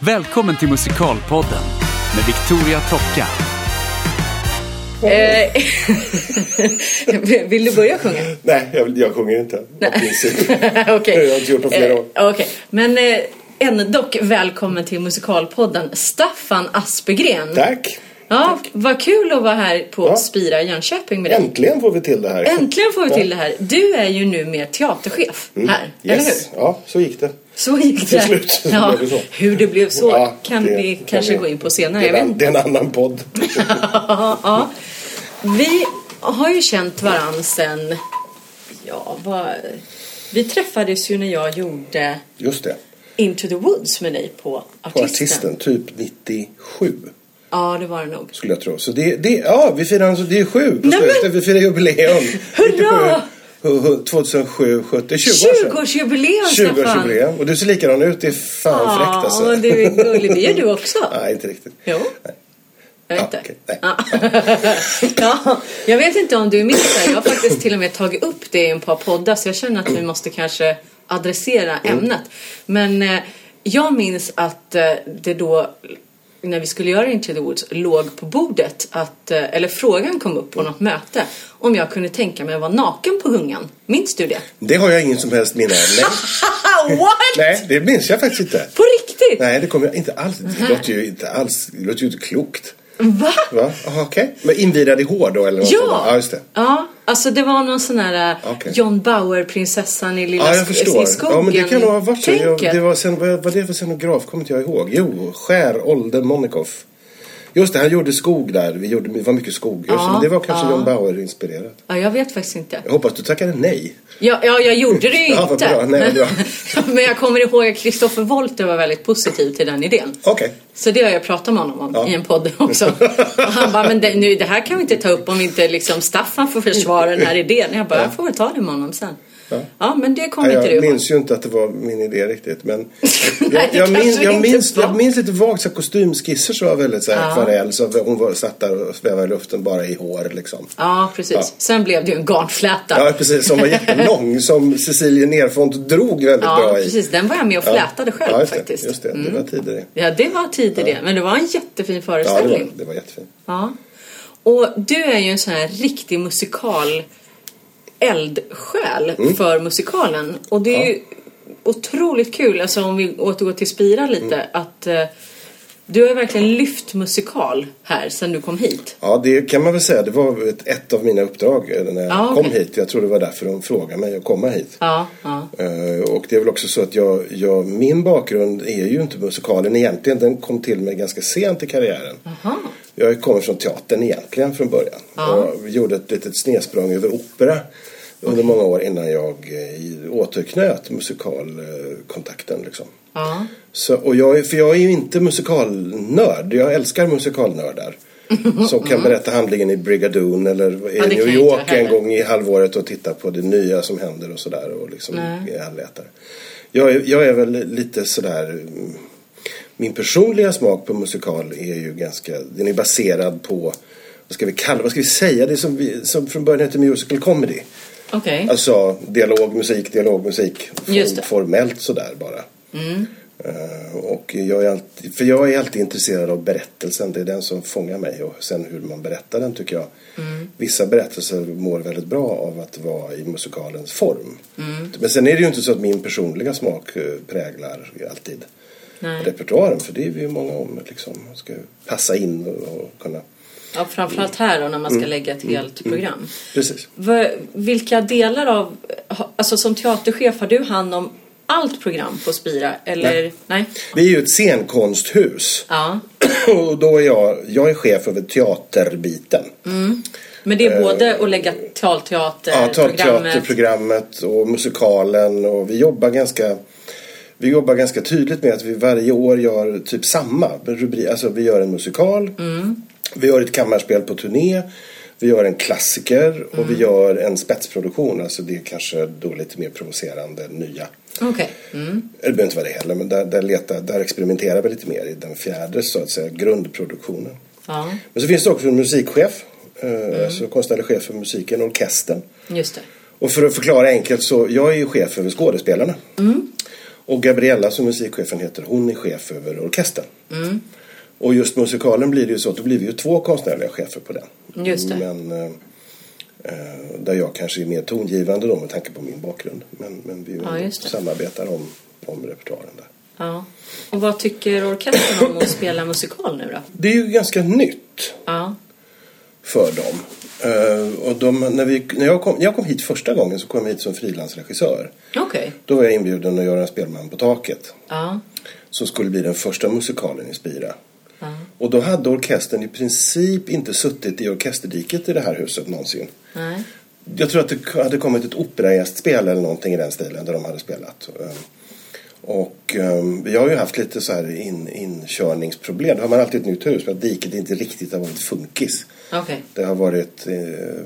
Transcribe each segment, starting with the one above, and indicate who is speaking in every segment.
Speaker 1: Välkommen till Musikalpodden med Victoria Tocka.
Speaker 2: Eh, Vill du börja sjunga?
Speaker 3: Nej, jag, jag sjunger inte. Av princip.
Speaker 2: Okej.
Speaker 3: Jag har inte gjort Mm. det på flera
Speaker 2: Eh,
Speaker 3: år.
Speaker 2: okej. Men eh, ändock välkommen till Musikalpodden Staffan Aspegren.
Speaker 3: Tack!
Speaker 2: Ja, vad kul att vara här på
Speaker 3: Ja.
Speaker 2: Spira i Jönköping med dig.
Speaker 3: Äntligen får vi till det här.
Speaker 2: Äntligen får vi till det här. Du är ju nu mer teaterchef här, eller hur?
Speaker 3: Mm. yes. Ja, så gick det.
Speaker 2: Så gick
Speaker 3: Till
Speaker 2: det.
Speaker 3: slut så
Speaker 2: ja,
Speaker 3: blev det så.
Speaker 2: Hur det blev så
Speaker 3: Ja,
Speaker 2: kan
Speaker 3: det
Speaker 2: vi
Speaker 3: kan
Speaker 2: kanske
Speaker 3: vi-
Speaker 2: gå in på senare.
Speaker 3: Det
Speaker 2: Jag vet
Speaker 3: är, en,
Speaker 2: inte.
Speaker 3: det är en annan podd.
Speaker 2: ja, ja. Vi har ju känt varann sen... Ja, vad... Vi träffades ju när jag gjorde
Speaker 3: Just det.
Speaker 2: Into the Woods med dig på
Speaker 3: På
Speaker 2: artisten.
Speaker 3: artisten, typ 97.
Speaker 2: Ja, det var det nog.
Speaker 3: Skulle jag tro. Så det, det ja, vi firar alltså, det är sju på
Speaker 2: Nej, men-
Speaker 3: slutet. Vi firar jubileum.
Speaker 2: Hurra!
Speaker 3: 97, hu- hu- 2007, 70, 20 år sedan.
Speaker 2: 20-årsjubileum, Staffan!
Speaker 3: 20-årsjubileum. Och du ser likadan ut. Det är fan fräckt alltså.
Speaker 2: Ja, men du är gullig. Det är du också.
Speaker 3: Nej, inte riktigt.
Speaker 2: Jo.
Speaker 3: Nej.
Speaker 2: Jag vet inte.
Speaker 3: Ja, okej. Nej.
Speaker 2: Ja. ja, jag vet inte om du missar. Jag har faktiskt till och med tagit upp det i en par poddar så jag känner att vi måste kanske adressera
Speaker 3: Mm.
Speaker 2: ämnet. Men eh, jag minns att eh, det då när vi skulle göra Into the Woods låg på bordet att, eh, eller frågan kom upp på något möte om jag kunde tänka mig att vara naken på gungan. Minns du det?
Speaker 3: Det har jag ingen som helst minne av. Nej.
Speaker 2: What?
Speaker 3: Nej, det minns jag faktiskt inte.
Speaker 2: På riktigt?
Speaker 3: Nej, det kommer jag inte alls.
Speaker 2: Mhm.
Speaker 3: Det låter ju inte alls. Det låter ju inte klokt.
Speaker 2: Va?
Speaker 3: Va? Aha, okej. Men invirad i hår då eller? något sånt
Speaker 2: Ja!
Speaker 3: där? Ja, just det.
Speaker 2: Ja, alltså det var någon sån här eh,
Speaker 3: Okej.
Speaker 2: John Bauer-prinsessan i Lilla
Speaker 3: Ja,
Speaker 2: sk-
Speaker 3: jag förstår.
Speaker 2: i skogen.
Speaker 3: Ja, men det kan nog ha varit så. Jag,
Speaker 2: Tänket.
Speaker 3: det var sen, vad var det för scenograf? Kommer inte jag ihåg. Jo, Skär Olde Monikoff. Just det, han gjorde skog där. Vi gjorde, det var mycket skog. Just,
Speaker 2: Ja,
Speaker 3: det, men det var kanske
Speaker 2: ja.
Speaker 3: John Bauer-inspirerat.
Speaker 2: Ja, jag vet faktiskt inte.
Speaker 3: Jag hoppas du tackade nej.
Speaker 2: Ja, ja jag gjorde det ju
Speaker 3: Ja, vad
Speaker 2: inte.
Speaker 3: bra. Nej, vad bra.
Speaker 2: men jag kommer ihåg att Kristoffer Wolter var väldigt positiv till den idén.
Speaker 3: Okej.
Speaker 2: Så det har jag pratat med honom om
Speaker 3: Ja.
Speaker 2: i en podd också. Och han bara, men det, nu, det här kan vi inte ta upp om inte liksom Staffan får försvara den här idén. Jag bara, jag får väl ta det med honom sen. Ja, men det kommer
Speaker 3: Nej,
Speaker 2: inte du
Speaker 3: jag
Speaker 2: ihåg.
Speaker 3: minns ju inte att det var min idé riktigt. Men
Speaker 2: Nej,
Speaker 3: jag,
Speaker 2: det
Speaker 3: jag,
Speaker 2: kanske
Speaker 3: minns, jag,
Speaker 2: inte
Speaker 3: minns,
Speaker 2: var.
Speaker 3: jag minns lite vagt så här kostymskisser som var väldigt så här
Speaker 2: Ja.
Speaker 3: akvarell. Så hon var, satt där och svävade i luften bara i hår liksom.
Speaker 2: Ja, precis.
Speaker 3: Ja.
Speaker 2: Sen blev det ju en garnfläta.
Speaker 3: Ja, precis. Som var jättelång. som Cecilia Nerfont drog väldigt
Speaker 2: Ja,
Speaker 3: bra i.
Speaker 2: precis. Den var jag med och
Speaker 3: Ja.
Speaker 2: flätade själv
Speaker 3: ja, just det,
Speaker 2: faktiskt.
Speaker 3: Just det,
Speaker 2: Mm.
Speaker 3: det var tider det.
Speaker 2: Ja, det var tid i det. Men det var en jättefin
Speaker 3: Ja, det var,
Speaker 2: föreställning.
Speaker 3: det var jättefint.
Speaker 2: Ja. Och du är ju en sån här riktig musikal eldsjäl
Speaker 3: Mm.
Speaker 2: för musikalen. Och det är ju otroligt kul, alltså om vi återgår till Spira lite,
Speaker 3: Mm.
Speaker 2: att eh, du har ju verkligen lyft musikal här sen du kom hit.
Speaker 3: Ja, det kan man väl säga. Det var ett, ett av mina uppdrag eh, när jag
Speaker 2: Ja,
Speaker 3: kom
Speaker 2: okej.
Speaker 3: hit. Jag tror det var därför de frågade mig att komma hit.
Speaker 2: Ja, ja.
Speaker 3: Eh, Och det är väl också så att jag, jag, min bakgrund är ju inte musikalen egentligen. Den kom till mig ganska sent i karriären.
Speaker 2: Aha.
Speaker 3: Jag kommer från teatern egentligen från början.
Speaker 2: Mhm. Ja.
Speaker 3: Jag gjorde ett litet snedsprång över opera under många år innan jag eh, återknöt musikalkontakten. Liksom.
Speaker 2: Ja.
Speaker 3: Så, och jag, är- för jag är ju inte musikalnörd. Jag älskar musikalnördar. Som kan berätta handlingen i Brigadoon eller
Speaker 2: Mm. Ja,
Speaker 3: i
Speaker 2: det
Speaker 3: New
Speaker 2: kan jag inte
Speaker 3: York en
Speaker 2: heller.
Speaker 3: gång i halvåret och titta på det nya som händer och sådär. Och liksom är allätare. Jag, är- jag är väl lite sådär... mm, Min personliga smak på musikal är ju ganska... Den är baserad på... Vad ska vi kalla Vad ska vi säga? Det som, vi, som från början hette musical comedy.
Speaker 2: Okej.
Speaker 3: Alltså dialog, musik, dialog, musik. Form,
Speaker 2: Just det. Mm.
Speaker 3: Formellt sådär bara. Eh, och jag är alltid, för jag är alltid intresserad av berättelsen. Det är den som fångar mig. Och sen hur man berättar den tycker jag.
Speaker 2: Mm.
Speaker 3: Vissa berättelser mår väldigt bra av att vara i musikalens form.
Speaker 2: Mm.
Speaker 3: Men sen är det ju inte så att min personliga smak eh, präglar ju alltid
Speaker 2: Nej.
Speaker 3: repertoaren. För det är vi ju många om. Liksom, ska passa in och, och kunna.
Speaker 2: Ja, framförallt här då när man ska
Speaker 3: Mm.
Speaker 2: lägga ett helt program.
Speaker 3: Precis.
Speaker 2: V- Vilka delar av, ha- alltså som teaterchef, har du hand om allt program på Spira? Eller? Nej.
Speaker 3: Nej. Vi är ju ett scenkonsthus.
Speaker 2: Ja.
Speaker 3: Och då är jag, jag är chef över teaterbiten.
Speaker 2: Men det är både att lägga
Speaker 3: Eh, Ja,
Speaker 2: talteaterprogrammet.
Speaker 3: teaterprogrammet och musikalen och vi jobbar ganska vi jobbar ganska tydligt med att vi varje år gör typ samma rubrik. Alltså vi gör en musikal, vi gör ett kammarspel på turné, vi gör en klassiker och vi gör en spetsproduktion. Alltså det är kanske då lite mer provocerande nya.
Speaker 2: Okej. Mm.
Speaker 3: Det behöver inte vara det heller, men där, där, letar, där experimenterar vi lite mer i den fjärde så att säga grundproduktionen.
Speaker 2: Ja,
Speaker 3: Men så finns det också en musikchef, eh,
Speaker 2: Mm.
Speaker 3: alltså konstnärlig chef för musiken, orkestern.
Speaker 2: just det. Mm.
Speaker 3: Och för att förklara enkelt så, jag är ju chef över skådespelarna. Och Gabriella som musikchefen heter, hon är chef över orkestern.
Speaker 2: Mm.
Speaker 3: Och just musikalen blir det ju så att det blir ju två konstnärliga chefer på den.
Speaker 2: Just det.
Speaker 3: Men, eh, eh, där jag kanske är mer tongivande då med tanke på min bakgrund. Men, men vi
Speaker 2: Ja, just det.
Speaker 3: samarbetar om, om repertoaren där.
Speaker 2: Ja. Och vad tycker orkestern om att spela musikal nu då?
Speaker 3: Det är ju ganska nytt.
Speaker 2: Ja.
Speaker 3: för dem. Eh, och de, när vi, när jag, kom, när jag kom hit första gången så kom jag hit som frilansregissör.
Speaker 2: Okej.
Speaker 3: Då var jag inbjuden att göra en spelman på taket.
Speaker 2: Ja.
Speaker 3: Som skulle bli den första musikalen i Spira. Och då hade orkestern i princip inte suttit i orkesterdiket i det här huset någonsin.
Speaker 2: Nej.
Speaker 3: Jag tror att det hade kommit ett operagästspel eller någonting i den stilen där de hade spelat. Eh, Och eh, vi har ju haft lite så här in, inkörningsproblem. Då har man alltid ett nytt hus för att diket inte riktigt har varit funkis.
Speaker 2: Okej.
Speaker 3: Det har varit, eh,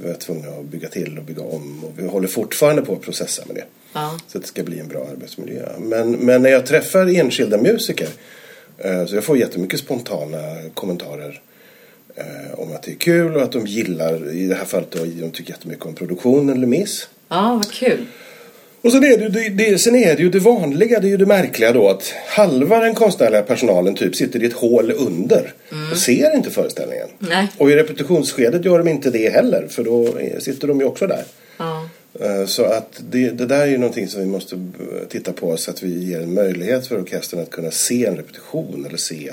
Speaker 3: vi är tvungna att bygga till och bygga om och vi håller fortfarande på att processa med det.
Speaker 2: Ja.
Speaker 3: Så att det ska bli en bra arbetsmiljö. Men, men när jag träffar enskilda musiker eh, så jag får jättemycket spontana kommentarer eh, om att det är kul och att de gillar, i det här fallet då, de tycker jättemycket om produktionen eller miss.
Speaker 2: Ja, vad kul.
Speaker 3: Och sen är, det, ju det, det, sen är det ju det vanliga, det är ju det märkliga då att halva den konstnärliga personalen typ sitter i ett hål under och ser inte föreställningen.
Speaker 2: Nej.
Speaker 3: Och i repetitionsskedet gör de inte det heller för då eh, sitter de ju också där.
Speaker 2: Ja.
Speaker 3: Eh, Så att det, det där är ju någonting som vi måste eh, titta på så att vi ger en möjlighet för orkestern att kunna se en repetition eller se.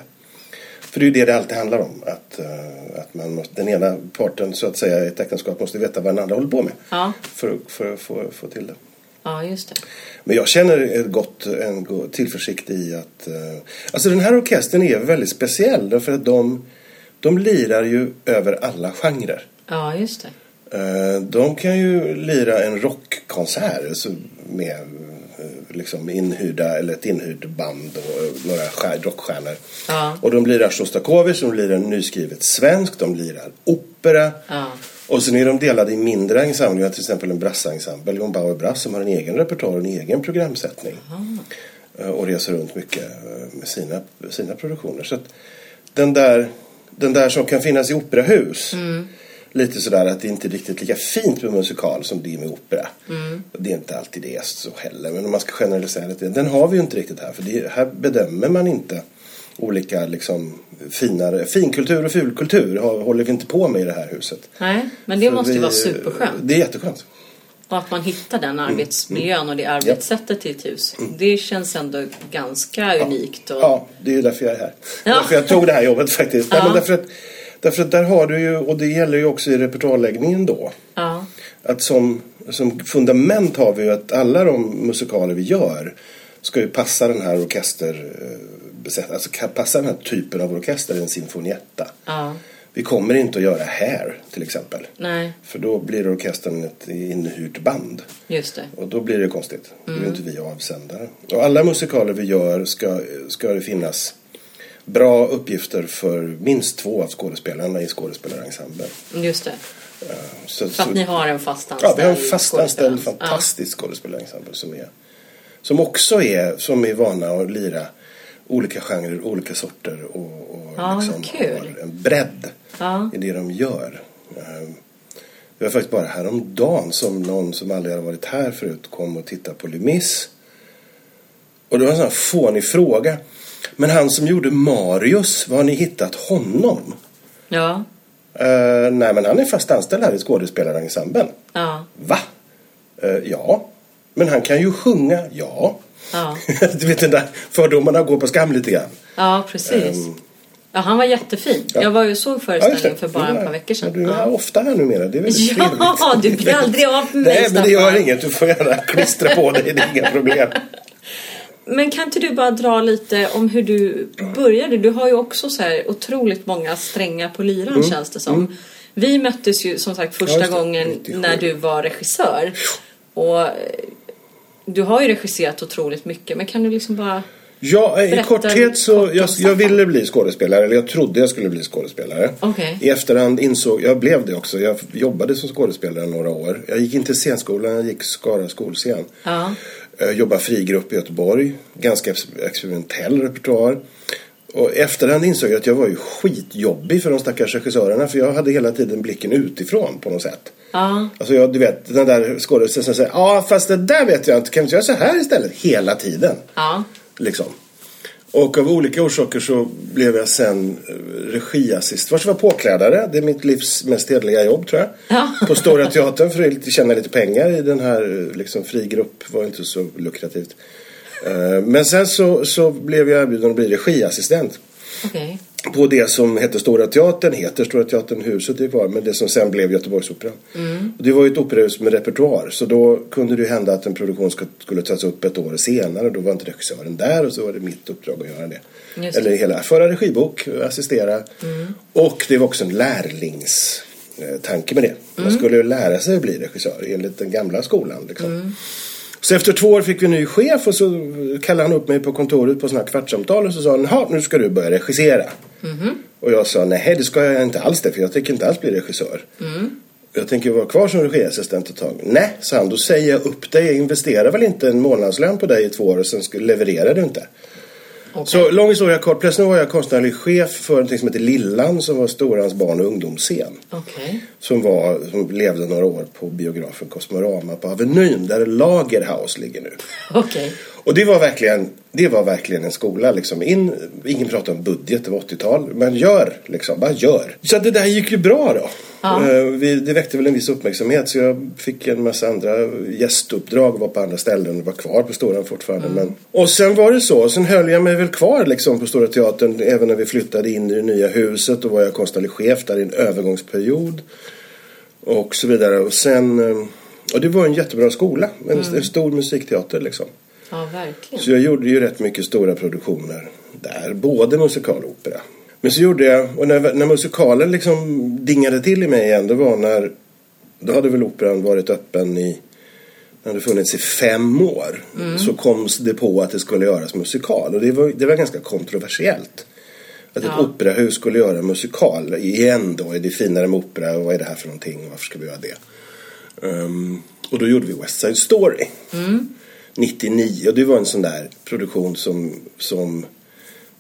Speaker 3: För det är ju det det alltid handlar om. Att, eh, att man måste, den ena parten så att säga i ett äktenskap måste veta vad den andra håller på med.
Speaker 2: Ja.
Speaker 3: För, att- för att få, få till det.
Speaker 2: Ja, just det.
Speaker 3: Men jag känner ett gott, en go- tillförsikt i att... Eh, alltså den här orkestern är väldigt speciell därför att de, de lirar ju över alla genrer.
Speaker 2: Ja, just det.
Speaker 3: Eh, de kan ju lira en rockkonsert alltså med eh, liksom inhyrda eller ett inhyrt band och eh, några stjär, rockstjärnor.
Speaker 2: Ja.
Speaker 3: Och de lirar Sjostakovitj, de lirar nyskrivet svensk, de lirar opera.
Speaker 2: Ja.
Speaker 3: Och sen är de delade i mindre ensembler. Vi har till exempel en brassensemble, Jon Bauer Brass, som har en egen repertoar och en egen programsättning. Eh, Och reser runt mycket eh, med sina, sina produktioner. Så att den där, den där som kan finnas i operahus. Lite sådär att det inte är riktigt lika fint med musikal som det är med opera. Och det är inte alltid det så heller. Men om man ska generalisera lite. Den har vi ju inte riktigt här. För det, här bedömer man inte olika liksom finare. Finkultur och fulkultur har- håller vi inte på med i det här huset.
Speaker 2: Nej, men det
Speaker 3: För
Speaker 2: måste ju
Speaker 3: vi-
Speaker 2: vara superskönt.
Speaker 3: Det är jätteskönt.
Speaker 2: Och att man hittar
Speaker 3: Mm.
Speaker 2: den arbetsmiljön och det arbetssättet i ett hus. Det känns ändå ganska unikt. Och...
Speaker 3: Ja, det är ju därför jag är här.
Speaker 2: Ja.
Speaker 3: Därför jag tog det här jobbet faktiskt. Nej,
Speaker 2: Ja.
Speaker 3: men därför, att, därför att där har du ju, och det gäller ju också i repertoarläggningen då.
Speaker 2: Ja.
Speaker 3: Att som, som fundament har vi ju att alla de musikaler vi gör ska ju passa den här orkester, eh, besätt- alltså ka- passa den här typen av orkester i en sinfonietta.
Speaker 2: Ja.
Speaker 3: Vi kommer inte att göra Hair till exempel.
Speaker 2: Nej,
Speaker 3: För då blir orkestern ett inhyrt band.
Speaker 2: just det.
Speaker 3: Och då blir det konstigt. Då
Speaker 2: Mm.
Speaker 3: är inte vi avsändare. Och alla musikaler vi gör ska, ska det finnas bra uppgifter för minst två av skådespelarna i skådespelarensemblen.
Speaker 2: Just det.
Speaker 3: Så,
Speaker 2: För att
Speaker 3: så-
Speaker 2: ni har en fast anställd
Speaker 3: ja, vi har en fastanställd
Speaker 2: skådespelare.
Speaker 3: fantastisk skådespelarensemble som, är, som också är, som är vana att lira olika genrer, olika sorter och, och
Speaker 2: Ja,
Speaker 3: liksom
Speaker 2: kul.
Speaker 3: har en bredd
Speaker 2: Ja.
Speaker 3: i det de gör. Ehm, Det var faktiskt bara häromdagen som någon som aldrig hade varit här förut kom och tittade på Lumis. Och det var en sån här fånig fråga. Men han som gjorde Marius, var har ni hittat honom?
Speaker 2: Ja. ja.
Speaker 3: Eh, nej, men han är fast anställd här i skådespelarensemblen.
Speaker 2: Ja.
Speaker 3: Va? Eh, ja. Men han kan ju sjunga. Ja.
Speaker 2: Ja.
Speaker 3: du vet den där fördomarna går på skam lite grann.
Speaker 2: Ja, precis. ja, han var jättefin.
Speaker 3: Ehm. ja.
Speaker 2: Jag var ju och såg
Speaker 3: Ja, just
Speaker 2: föreställningen
Speaker 3: det.
Speaker 2: för bara
Speaker 3: Du
Speaker 2: ett
Speaker 3: är-
Speaker 2: par veckor sedan.
Speaker 3: Du är
Speaker 2: ja.
Speaker 3: ofta här numera. Det är väldigt
Speaker 2: Ja,
Speaker 3: trevligt.
Speaker 2: du blir aldrig av med mig,
Speaker 3: Nej, men det gör
Speaker 2: Staffan.
Speaker 3: inget. Du får gärna klistra på dig. Det är inga problem.
Speaker 2: Men kan inte du bara dra lite om hur du började? Du har ju också så här otroligt många strängar på lyran känns det som. Vi möttes ju som sagt första
Speaker 3: Mm. Ja, just det.
Speaker 2: gången
Speaker 3: 97.
Speaker 2: när du var regissör. Och eh, du har ju regisserat otroligt mycket men kan du liksom bara...
Speaker 3: Ja, eh, i
Speaker 2: Berätta
Speaker 3: korthet så,
Speaker 2: kort om
Speaker 3: jag, jag
Speaker 2: Staffan.
Speaker 3: ville bli skådespelare, eller jag trodde jag skulle bli skådespelare.
Speaker 2: Okej.
Speaker 3: I efterhand insåg, jag blev det också, jag jobbade som skådespelare några år. Jag gick inte scenskolan, jag gick Skara skolscen.
Speaker 2: Ja.
Speaker 3: Eh, Jobbade frigrupp i Göteborg, ganska ex- experimentell repertoar. Och i efterhand insåg jag att jag var ju skitjobbig för de stackars regissörerna för jag hade hela tiden blicken utifrån på något sätt.
Speaker 2: Ja.
Speaker 3: Alltså jag, du vet, den där skådespelaren som säger ja fast det där vet jag inte, kan vi inte göra så här istället? Hela tiden.
Speaker 2: Ja.
Speaker 3: Liksom. Och av olika orsaker så blev jag sen eh, regiassistent. Först var jag påklädare, det är mitt livs mest hederliga jobb tror jag.
Speaker 2: Ja.
Speaker 3: På Stora Teatern för att lite- tjäna lite pengar i den här eh, liksom, fri grupp, var inte så lukrativt. Eh, Men sen så, så blev jag erbjuden att bli regiassistent
Speaker 2: Okej.
Speaker 3: på det som hette Stora Teatern, heter Stora Teatern, huset är kvar, men det som sen blev Göteborgsoperan.
Speaker 2: Mm.
Speaker 3: Och det var ju ett operahus med repertoar, så då kunde det ju hända att en produktion sk- skulle tas upp ett år senare och då var inte regissören där och så var det mitt uppdrag att göra det.
Speaker 2: Just det. Mm.
Speaker 3: Eller hela föra regibok, assistera. Och det var också en lärlings eh, tanke med det. Man
Speaker 2: Mm.
Speaker 3: skulle ju lära sig att bli regissör enligt den gamla skolan. Liksom.
Speaker 2: Mm.
Speaker 3: Så efter två år fick vi en ny chef och så kallade han upp mig på kontoret på sådana här kvartssamtal och så sa han, "Jaha, nu ska du börja regissera. Och jag sa, nej det ska jag inte alls det, för jag tänker inte alls bli regissör. Jag tänker vara kvar som regiassistent ett tag. Nej, sa han, då säger jag upp dig. Jag investerar väl inte en månadslön på dig i två år och sen skulle- levererar du inte.
Speaker 2: Okej.
Speaker 3: Så lång historia kort, plötsligt var jag konstnärlig chef för någonting som heter Lillan som var Storans barn och ungdomsscen
Speaker 2: Okej.
Speaker 3: som, var, som levde några år på biografen Cosmorama på Avenyn där Lagerhaus ligger nu.
Speaker 2: Okej.
Speaker 3: Och det var verkligen, det var verkligen en skola liksom. In, ingen pratade om budget, det var 80-tal. Men gör liksom, bara gör. Så det där gick ju bra då.
Speaker 2: Ja.
Speaker 3: Eh, Vi, det väckte väl en viss uppmärksamhet så jag fick en massa andra gästuppdrag, var på andra ställen och var kvar på Stora fortfarande. Men, och sen var det så, sen höll jag mig väl kvar liksom på Stora Teatern även när vi flyttade in i det nya huset. Då var jag konstnärlig chef där i en övergångsperiod och så vidare. Och sen, eh, och det var en jättebra skola, en, en stor musikteater liksom.
Speaker 2: Ja, verkligen.
Speaker 3: Så jag gjorde ju rätt mycket stora produktioner där, både musikal och opera. Men så gjorde jag, och när, när musikalen liksom dingade till i mig igen, det var när, då hade väl operan varit öppen i, den hade funnits i fem år. Så kom det på att det skulle göras musikal och det var, det var ganska kontroversiellt. Att ett
Speaker 2: Ja.
Speaker 3: operahus skulle göra musikal igen då, är det finare med opera och vad är det här för någonting och varför ska vi göra det? Ehm, och då gjorde vi West Side Story. 99 och det var en sån där produktion som, som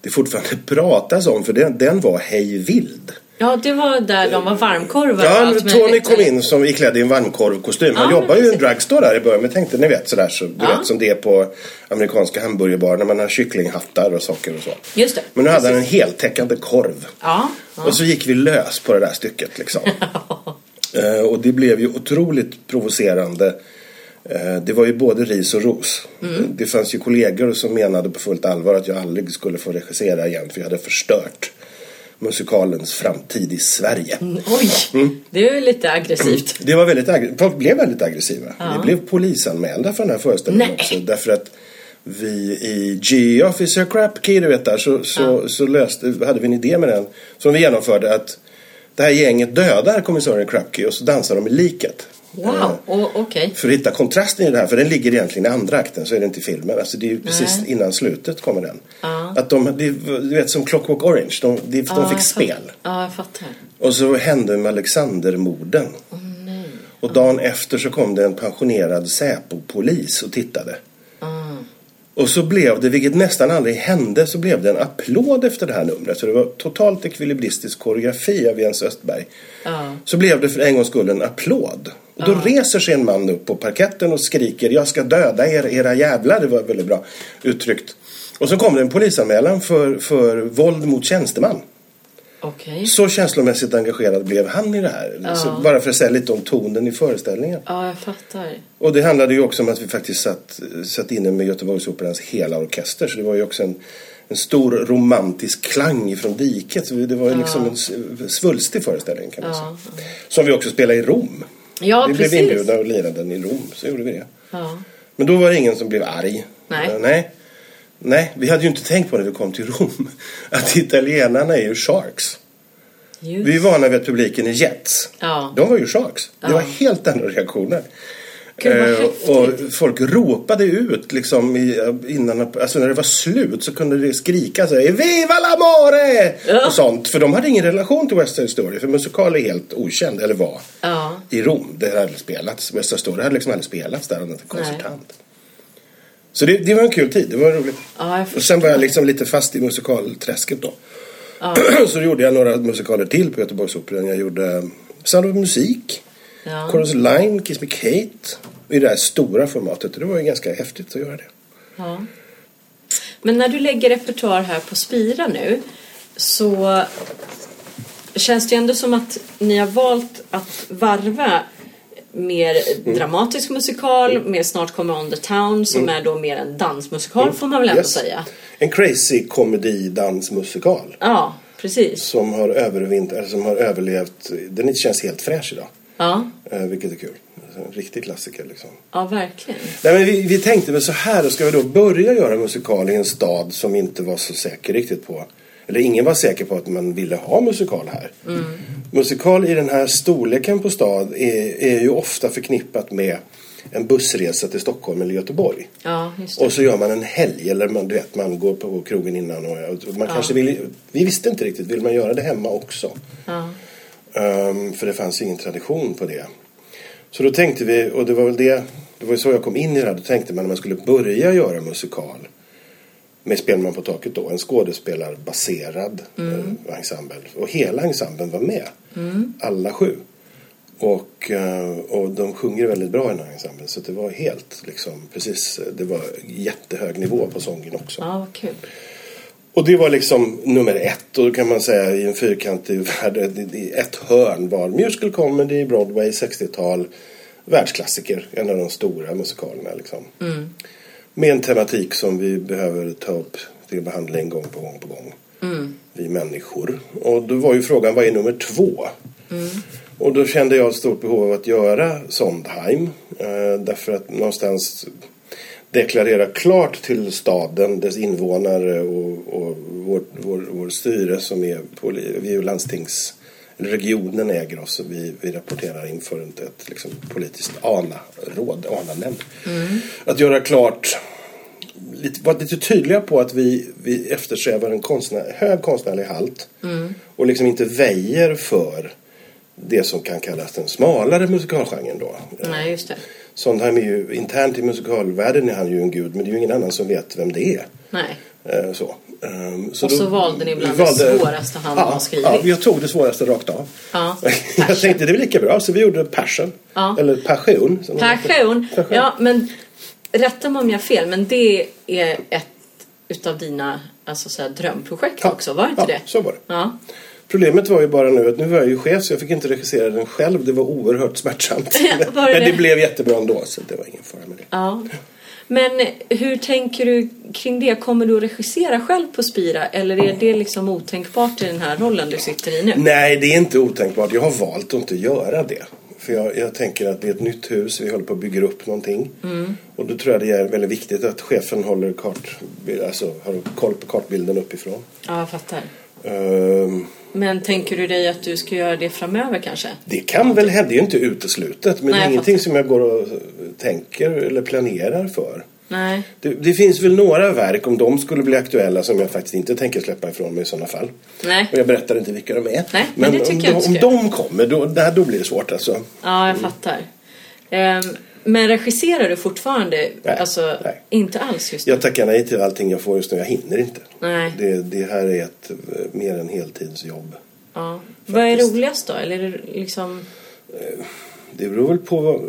Speaker 3: det fortfarande pratas om för den, den var hej vild.
Speaker 2: Ja, det var där de var varmkorvar och
Speaker 3: Ja,
Speaker 2: allt
Speaker 3: Tony
Speaker 2: möjligt.
Speaker 3: kom in som i klädd i en varmkorvkostym. Han
Speaker 2: Ja,
Speaker 3: jobbar ju i en
Speaker 2: precis.
Speaker 3: drugstore där i början. Men tänkte, ni vet sådär så, du
Speaker 2: Ja.
Speaker 3: vet som det är på amerikanska hamburgerbarer när man har kycklinghattar och saker och så.
Speaker 2: Just det.
Speaker 3: Men nu hade han en heltäckande korv.
Speaker 2: Ja. ja.
Speaker 3: Och så gick vi lös på det där stycket liksom. Eh, och det blev ju otroligt provocerande. Eh, det var ju både ris och ros.
Speaker 2: Mm.
Speaker 3: Eh, Det fanns ju kollegor som menade på fullt allvar att jag aldrig skulle få regissera igen för jag hade förstört musikalens framtid i Sverige.
Speaker 2: Oj,
Speaker 3: Mm.
Speaker 2: det är ju lite aggressivt.
Speaker 3: Det var väldigt agg- folk blev väldigt aggressiva. Vi blev polisanmälda för den här föreställningen
Speaker 2: Nej.
Speaker 3: också. Därför att vi i G-Officer Crap Key, du vet där, så, så, så löste, hade vi en idé med den som vi genomförde att det här gänget dödar kommissarien Krapke och så dansar de i liket. Eh,
Speaker 2: Wow, och- okej.
Speaker 3: för att hitta kontrasten i det här, för den ligger egentligen i andra akten, så är det inte i filmen. Alltså det är ju precis
Speaker 2: Nej.
Speaker 3: innan slutet kommer den.
Speaker 2: Ja.
Speaker 3: Att de, det är- du vet som Clockwork Orange, de, de,
Speaker 2: Ja,
Speaker 3: de fick
Speaker 2: jag
Speaker 3: spel.
Speaker 2: fattar. Ja, jag fattar.
Speaker 3: Och så hände med Alexandermorden. Och dagen efter så kom det en pensionerad Säpo-polis och tittade. Och så blev det, vilket nästan aldrig hände, så blev det en applåd efter det här numret. Så det var totalt ekvilibristisk koreografi av Jens Östberg.
Speaker 2: Ja.
Speaker 3: Så blev det för en gångs skull en applåd. Och då reser sig en man upp på parketten och skriker Jag ska döda er, era jävlar. Det var väldigt bra uttryckt. Och så kom det en polisanmälan för, för våld mot tjänsteman.
Speaker 2: Okej.
Speaker 3: Så känslomässigt engagerad blev han i det här. Så bara för att säga lite om tonen i föreställningen.
Speaker 2: Ja, jag fattar.
Speaker 3: Och det handlade ju också om att vi faktiskt satt, satt inne med Göteborgsoperans hela orkester. Så det var ju också en, en stor romantisk klang från diket. Så det var ju liksom en s- svulstig föreställning kan man
Speaker 2: Ja,
Speaker 3: säga. Som vi också spelade i Rom.
Speaker 2: Ja,
Speaker 3: vi
Speaker 2: precis.
Speaker 3: blev inbjudna och lirade den i Rom. Så gjorde vi det.
Speaker 2: Ja.
Speaker 3: Men då var det ingen som blev arg.
Speaker 2: Nej.
Speaker 3: Eh, Nej. Nej, vi hade ju inte tänkt på när vi kom till Rom att italienarna är ju sharks.
Speaker 2: Just.
Speaker 3: Vi är vana vid att publiken är jets.
Speaker 2: Ja.
Speaker 3: De var ju sharks. Det
Speaker 2: Ja.
Speaker 3: var helt andra reaktioner.
Speaker 2: Gud, vad
Speaker 3: Eh,
Speaker 2: häftigt.
Speaker 3: och folk ropade ut liksom i, innan, alltså när det var slut så kunde det skrika så här, Viva l'amore!
Speaker 2: Ja.
Speaker 3: Och sånt. För de hade ingen relation till West Side Story. För musikal är helt okänd, eller var,
Speaker 2: Ja.
Speaker 3: i Rom. Det hade aldrig spelats. West Side Story hade liksom aldrig spelats där annat än konsertant. Så det, det var en kul tid. Det var roligt.
Speaker 2: Ja, jag
Speaker 3: och sen var jag liksom lite fast i musikalträsket då. Så gjorde jag några musikaler till på Göteborgsoperan. Jag gjorde Sound of eh, Music.
Speaker 2: Ja.
Speaker 3: Chorus Line, Kiss Me Kate. I det här stora formatet. Det var ju ganska häftigt att göra det.
Speaker 2: Ja. Men när du lägger repertoar här på Spira nu så känns det ju ändå som att ni har valt att varva mer
Speaker 3: Mm.
Speaker 2: dramatisk musikal, mer Snart kommer On the Town som är då mer en dansmusikal får man väl ändå
Speaker 3: Mm. Yes.
Speaker 2: säga.
Speaker 3: En crazy komedi dansmusikal.
Speaker 2: Ja, precis.
Speaker 3: Som har, övervint- eller som har överlevt. Den känns helt fräsch idag.
Speaker 2: Ja,
Speaker 3: Eh, vilket är kul. Alltså, En riktig klassiker liksom.
Speaker 2: ja verkligen.
Speaker 3: Nej, men vi, vi tänkte väl så här, ska vi då börja göra musikal i en stad som inte var så säker riktigt på, eller ingen var säker på att man ville ha musikal här. Musikal i den här storleken på stad är, är ju ofta förknippat med en bussresa till Stockholm eller Göteborg.
Speaker 2: Ja, just det.
Speaker 3: Och så gör man en helg eller man, du vet, man går på krogen innan och, och man kanske vill, vi visste inte riktigt, vill man göra det hemma också?
Speaker 2: Ja.
Speaker 3: Ehm, för det fanns ju ingen tradition på det. Så då tänkte vi, och det var väl det, det var ju så jag kom in i det här, då tänkte man när man skulle börja göra musikal med Spelman på taket då, en skådespelarbaserad eh, ensemble. Och hela ensemblen var med, alla sju. Och, eh, och de sjunger väldigt bra i den här ensemblen så det var helt liksom, precis, eh, det var jättehög nivå på sången också.
Speaker 2: ja, vad kul.
Speaker 3: Och det var liksom nummer ett. Och då kan man säga i en fyrkantig värld, i- i ett hörn var musical comedy, Broadway, 60-tal, världsklassiker. En av de stora musikalerna liksom. Med en tematik som vi behöver ta upp till behandling gång på gång på gång. Vi människor. Och då var ju frågan, vad är nummer två? Och då kände jag ett stort behov av att göra Sondheim. Eh, därför att någonstans deklarera klart till staden, dess invånare och, och vår, vår, vår styre som är på, vi är ju landstings... eller Regionen äger oss och vi, vi rapporterar inför ett, ett liksom, politiskt ANA-råd, ANA-nämnd. Att göra klart lite, varit lite tydliga på att vi, vi eftersträvar en konstnär, hög konstnärlig halt
Speaker 2: Mm.
Speaker 3: och liksom inte väjer för det som kan kallas den smalare musikalgenren då.
Speaker 2: Nej, just det.
Speaker 3: Sondheim är ju, internt i musikalvärlden är han ju en gud men det är ju ingen annan som vet vem det är.
Speaker 2: Nej.
Speaker 3: Eh, Så. Ehm,
Speaker 2: Och så valde ni bland det svåraste han
Speaker 3: ja,
Speaker 2: har skrivit.
Speaker 3: Ja, jag tog det svåraste rakt av.
Speaker 2: Ja, Passion.
Speaker 3: jag tänkte det är väl lika bra så vi gjorde Passion.
Speaker 2: Ja.
Speaker 3: Eller Passion. som det heter.
Speaker 2: Passion. Ja, men rätta mig om jag har fel, men det är ett utav dina alltså, så här, drömprojekt
Speaker 3: Ja.
Speaker 2: också, var det inte
Speaker 3: ja,
Speaker 2: det?
Speaker 3: så var det.
Speaker 2: Ja.
Speaker 3: Problemet var ju bara nu att nu var jag ju chef så jag fick inte regissera den själv. Det var oerhört smärtsamt.
Speaker 2: Var det
Speaker 3: Men det
Speaker 2: det?
Speaker 3: blev jättebra ändå så det var ingen fara med det.
Speaker 2: ja. Men hur tänker du kring det? Kommer du att regissera själv på Spira eller är det liksom otänkbart i den här rollen du sitter i nu?
Speaker 3: Nej, det är inte otänkbart. Jag har valt att inte göra det. För jag, jag tänker att det är ett nytt hus, vi håller på att bygga upp någonting.
Speaker 2: Mm.
Speaker 3: Och då tror jag det är väldigt viktigt att chefen håller kart, alltså, har koll på kartbilden uppifrån.
Speaker 2: Ja, jag fattar.
Speaker 3: Ehm,
Speaker 2: Men tänker du dig att du ska göra det framöver kanske?
Speaker 3: Det kan väl hända, det är ju inte uteslutet. Men
Speaker 2: Nej,
Speaker 3: det är
Speaker 2: jag
Speaker 3: ingenting
Speaker 2: fattar.
Speaker 3: som jag går och tänker eller planerar för.
Speaker 2: Nej.
Speaker 3: Det, det finns väl några verk, om de skulle bli aktuella, som jag faktiskt inte tänker släppa ifrån mig i sådana fall.
Speaker 2: Nej.
Speaker 3: Och jag berättar inte vilka de är.
Speaker 2: Nej, men det tycker jag
Speaker 3: om, de,
Speaker 2: inte
Speaker 3: om
Speaker 2: ska
Speaker 3: de kommer, då, där, då blir det svårt alltså.
Speaker 2: Ja, jag fattar. Ehm, men regisserar du fortfarande?
Speaker 3: Nej,
Speaker 2: alltså,
Speaker 3: nej.
Speaker 2: inte alls just nu?
Speaker 3: Jag tackar nej till allting jag får just nu, jag hinner inte.
Speaker 2: Nej.
Speaker 3: Det, det här är ett eh, mer än heltidsjobb.
Speaker 2: Ja. Vad är roligast då? Eller är det liksom...
Speaker 3: Det beror väl på vad...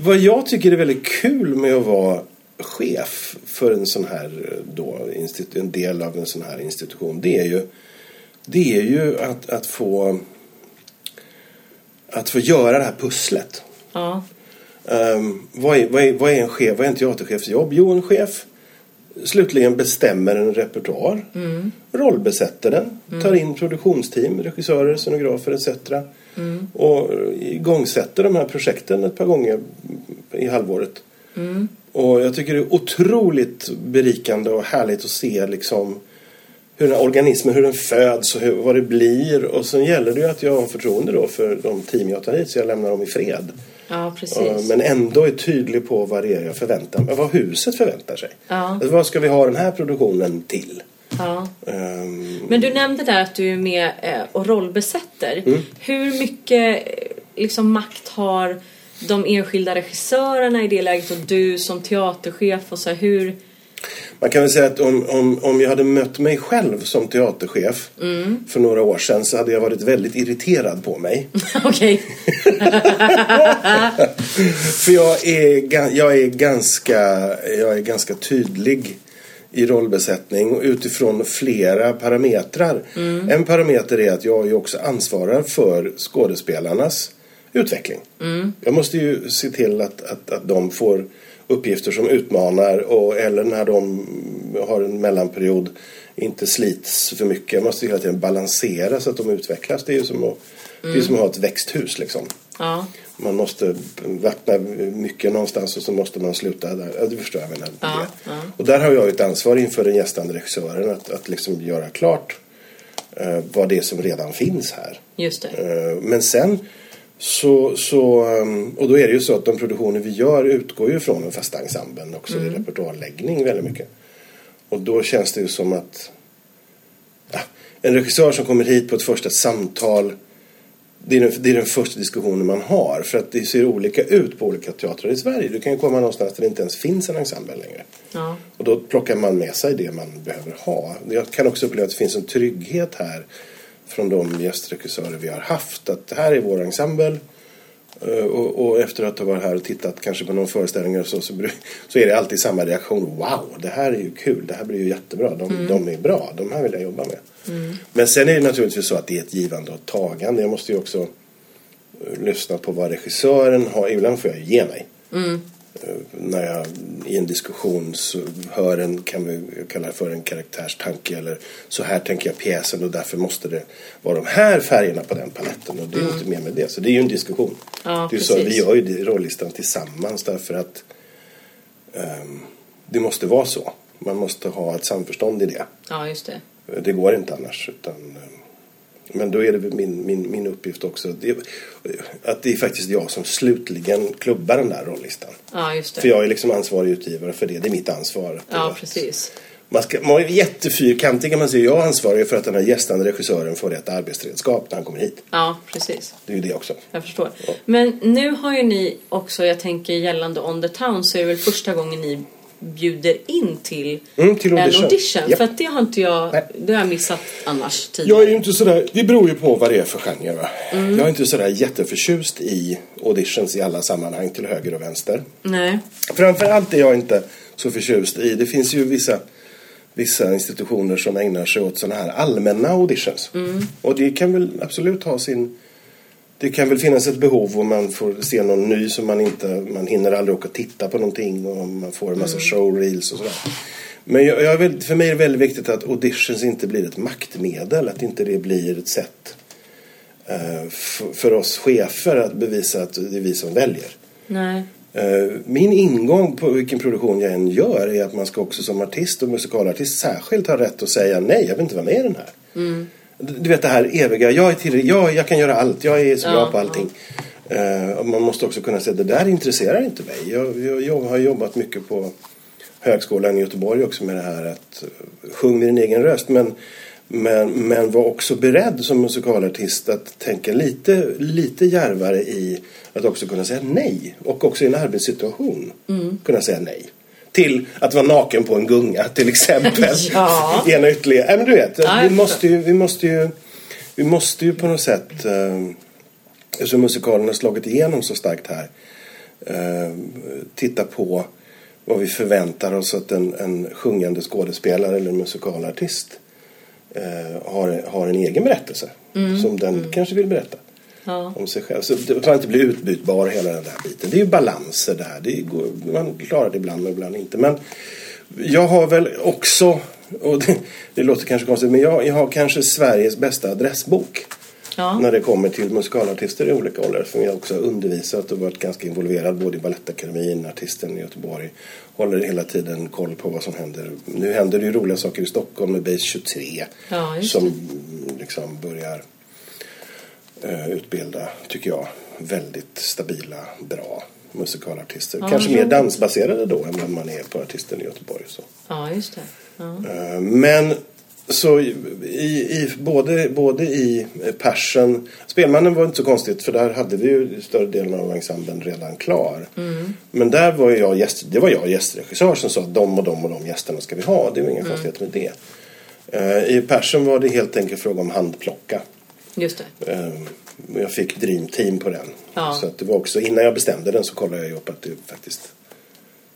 Speaker 3: Vad jag tycker är väldigt kul med att vara chef för en sån här eh, då, institu- en del av en sån här institution, det är ju, det är ju att, att få att få göra det här pusslet.
Speaker 2: Ja,
Speaker 3: Ehm, vad, är, vad, är, vad är en chef? Vad är en teaterchefs jobb? Jo, en chef slutligen bestämmer en repertoar, rollbesätter den, tar in produktionsteam, regissörer, scenografer etc. Och igångsätter de här projekten ett par gånger i halvåret. Och jag tycker det är otroligt berikande och härligt att se liksom hur den här organismen, hur den föds och hur, vad det blir. Och sen gäller det ju att jag har förtroende då för de team jag tar hit så jag lämnar dem i fred.
Speaker 2: ja precis.
Speaker 3: Ja, Men ändå är tydlig på vad det är jag förväntar mig, vad huset förväntar sig.
Speaker 2: Ja.
Speaker 3: Alltså, Vad ska vi ha den här produktionen till?
Speaker 2: ja.
Speaker 3: Ehm,
Speaker 2: Men du nämnde där att du är med eh, och rollbesätter.
Speaker 3: Mm.
Speaker 2: Hur mycket eh, liksom, makt har de enskilda regissörerna i det läget och du som teaterchef? Och så här, hur,
Speaker 3: Man kan väl säga att om, om, om jag hade mött mig själv som teaterchef
Speaker 2: Mm.
Speaker 3: för några år sedan så hade jag varit väldigt irriterad på mig.
Speaker 2: Okej.
Speaker 3: För jag är, ga- jag är, ganska, jag är ganska tydlig i rollbesättning utifrån flera parametrar. En parameter är att jag ju också ansvarar för skådespelarnas utveckling. Jag måste ju se till att, att, att de får uppgifter som utmanar och, eller när de har en mellanperiod inte slits för mycket. Jag måste hela tiden balansera så att de utvecklas. Det är ju som att, det är som att ha ett växthus liksom.
Speaker 2: Ja.
Speaker 3: Man måste vattna mycket någonstans och så måste man sluta där. Ja, Du förstår vad jag menar. med
Speaker 2: Ja,
Speaker 3: det. Och där har jag ju ett ansvar inför den gästande regissören att, att liksom göra klart eh, vad det är som redan finns här.
Speaker 2: Just det.
Speaker 3: Eh, men sen så, så, eh, och då är det ju så att de produktioner vi gör utgår ju från den fasta ensemblen också. Det är repertoarläggning väldigt mycket. Och då känns det ju som att ja, en regissör som kommer hit på ett första samtal det är, den, det är den första diskussionen man har för att det ser olika ut på olika teatrar i Sverige. Du kan ju komma någonstans där det inte ens finns en ensemble längre.
Speaker 2: Ja.
Speaker 3: Och då plockar man med sig det man behöver ha. Jag kan också uppleva att det finns en trygghet här från de gästregissörer vi har haft. Att det här är vår ensemble. Eh, Och, och efter att ha varit här och tittat kanske på någon föreställning och så, så, bru- så är det alltid samma reaktion. Wow, det här är ju kul. Det här blir ju jättebra. De, de är bra. De här vill jag jobba med. Men sen är det naturligtvis så att det är ett givande och ett tagande. Jag måste ju också eh, lyssna på vad regissören har. Ibland får jag ju ge mig
Speaker 2: Mm.
Speaker 3: Eh, när jag i en diskussion så hör en, kan vi kalla det för en karaktärstanke eller så här tänker jag pjäsen och därför måste det vara de här färgerna på den paletten och det är inte mer med det. Så det är ju en diskussion.
Speaker 2: Mm. Ja,
Speaker 3: det är ju så, vi
Speaker 2: precis.
Speaker 3: gör ju det- rollistan tillsammans därför att ehm, det måste vara så. Man måste ha ett samförstånd i det.
Speaker 2: ja, just det.
Speaker 3: Det går inte annars. Utan, eh, men då är det väl min, min, min uppgift också det, att det är faktiskt jag som slutligen klubbar den där rollistan.
Speaker 2: Ja, just
Speaker 3: För
Speaker 2: det.
Speaker 3: jag är liksom ansvarig utgivare för det. Det är mitt ansvar. att det
Speaker 2: Ja,
Speaker 3: var-
Speaker 2: precis.
Speaker 3: Man, ska, man är jättefyrkantig kan man säga. Jag är ansvarig för att den här gästande regissören får rätt arbetsredskap när han kommer hit.
Speaker 2: Ja, precis.
Speaker 3: Det är ju det också.
Speaker 2: Jag förstår. Men nu har ju ni också, jag tänker gällande On the Town, så är det väl första gången ni bjuder in till,
Speaker 3: Mm, till audition.
Speaker 2: en audition.
Speaker 3: Japp.
Speaker 2: För att det har inte jag,
Speaker 3: Nej.
Speaker 2: det har jag missat annars tidigare.
Speaker 3: Jag är ju inte sådär, det beror ju på vad det är för genre. Va?
Speaker 2: Mm.
Speaker 3: Jag är inte sådär jätteförtjust i auditions i alla sammanhang till höger och vänster.
Speaker 2: Nej.
Speaker 3: Framförallt är jag inte så förtjust i, det finns ju vissa, vissa institutioner som ägnar sig åt sådana här allmänna auditions. Och det kan väl absolut ha sin, det kan väl finnas ett behov om man får se någon ny som man inte, man hinner aldrig åka och titta på någonting och man får en massa showreels och sådär. Men jag, jag är väl, för mig är det väldigt viktigt att auditions inte blir ett maktmedel, att inte det blir ett sätt eh, f- för oss chefer att bevisa att det är vi som väljer.
Speaker 2: Nej.
Speaker 3: Eh, Min ingång på vilken produktion jag än gör är att man ska också som artist och musikalartist särskilt ha rätt att säga nej, jag vill inte vara med i den här. Du du vet det här eviga, jag, är tillräckligt, jag, jag kan göra allt, jag är så bra
Speaker 2: Ja,
Speaker 3: på allting. Eh, och man måste också kunna säga, det där intresserar inte mig. Jag, jag, jag har jobbat mycket på högskolan i Göteborg också med det här att eh, sjung med din egen röst. Men, men, men var också beredd som musikalartist att tänka lite, lite djärvare i att också kunna säga nej. Och också i en arbetssituation
Speaker 2: Mm.
Speaker 3: kunna säga nej. Till att vara naken på en gunga till exempel.
Speaker 2: Ja.
Speaker 3: Ena ytterligare. Nej, men du vet,
Speaker 2: jag
Speaker 3: vi,
Speaker 2: förstår.
Speaker 3: måste ju, vi, måste ju, vi måste ju på något sätt, eh, eftersom musikalen har slagit igenom så starkt här, eh, titta på vad vi förväntar oss att en, en sjungande skådespelare eller en musikalartist eh, har, har en egen berättelse.
Speaker 2: Mm.
Speaker 3: Som den kanske vill berätta
Speaker 2: Ja.
Speaker 3: om sig själv. Så det- man inte blir utbytbar hela den där biten. Det är ju balanser där. Det går, man klarar det ibland och ibland inte. Men jag har väl också, och det, det låter kanske konstigt, men jag, jag har kanske Sveriges bästa adressbok.
Speaker 2: Ja.
Speaker 3: När det kommer till musikalartister i olika åldrar. För jag har också undervisat och varit ganska involverad både i Balettakademin, artisten i Göteborg. Håller hela tiden koll på vad som händer. Nu händer det ju roliga saker i Stockholm med Base 23.
Speaker 2: Ja, just
Speaker 3: som liksom börjar eh, utbilda, tycker jag, väldigt stabila, bra musikalartister. Kanske mer dansbaserade då än vad man är på artisten i Göteborg. Så.
Speaker 2: Ja, just det. Ja.
Speaker 3: Eh, Men Så i, i, både, både i Persen, Spelmannen var inte så konstigt för där hade vi ju större delen av ensemblen redan klar. Men där var ju jag gäst, det var jag gästregissör som sa att de och de och de gästerna ska vi ha. Det är ju inga konstigheter med det. Eh, I Persen var det helt enkelt fråga om handplocka.
Speaker 2: Just det.
Speaker 3: Eh, och jag fick Dream Team på den.
Speaker 2: Ja.
Speaker 3: Så att det var också, innan jag bestämde den så kollade jag ju upp att det faktiskt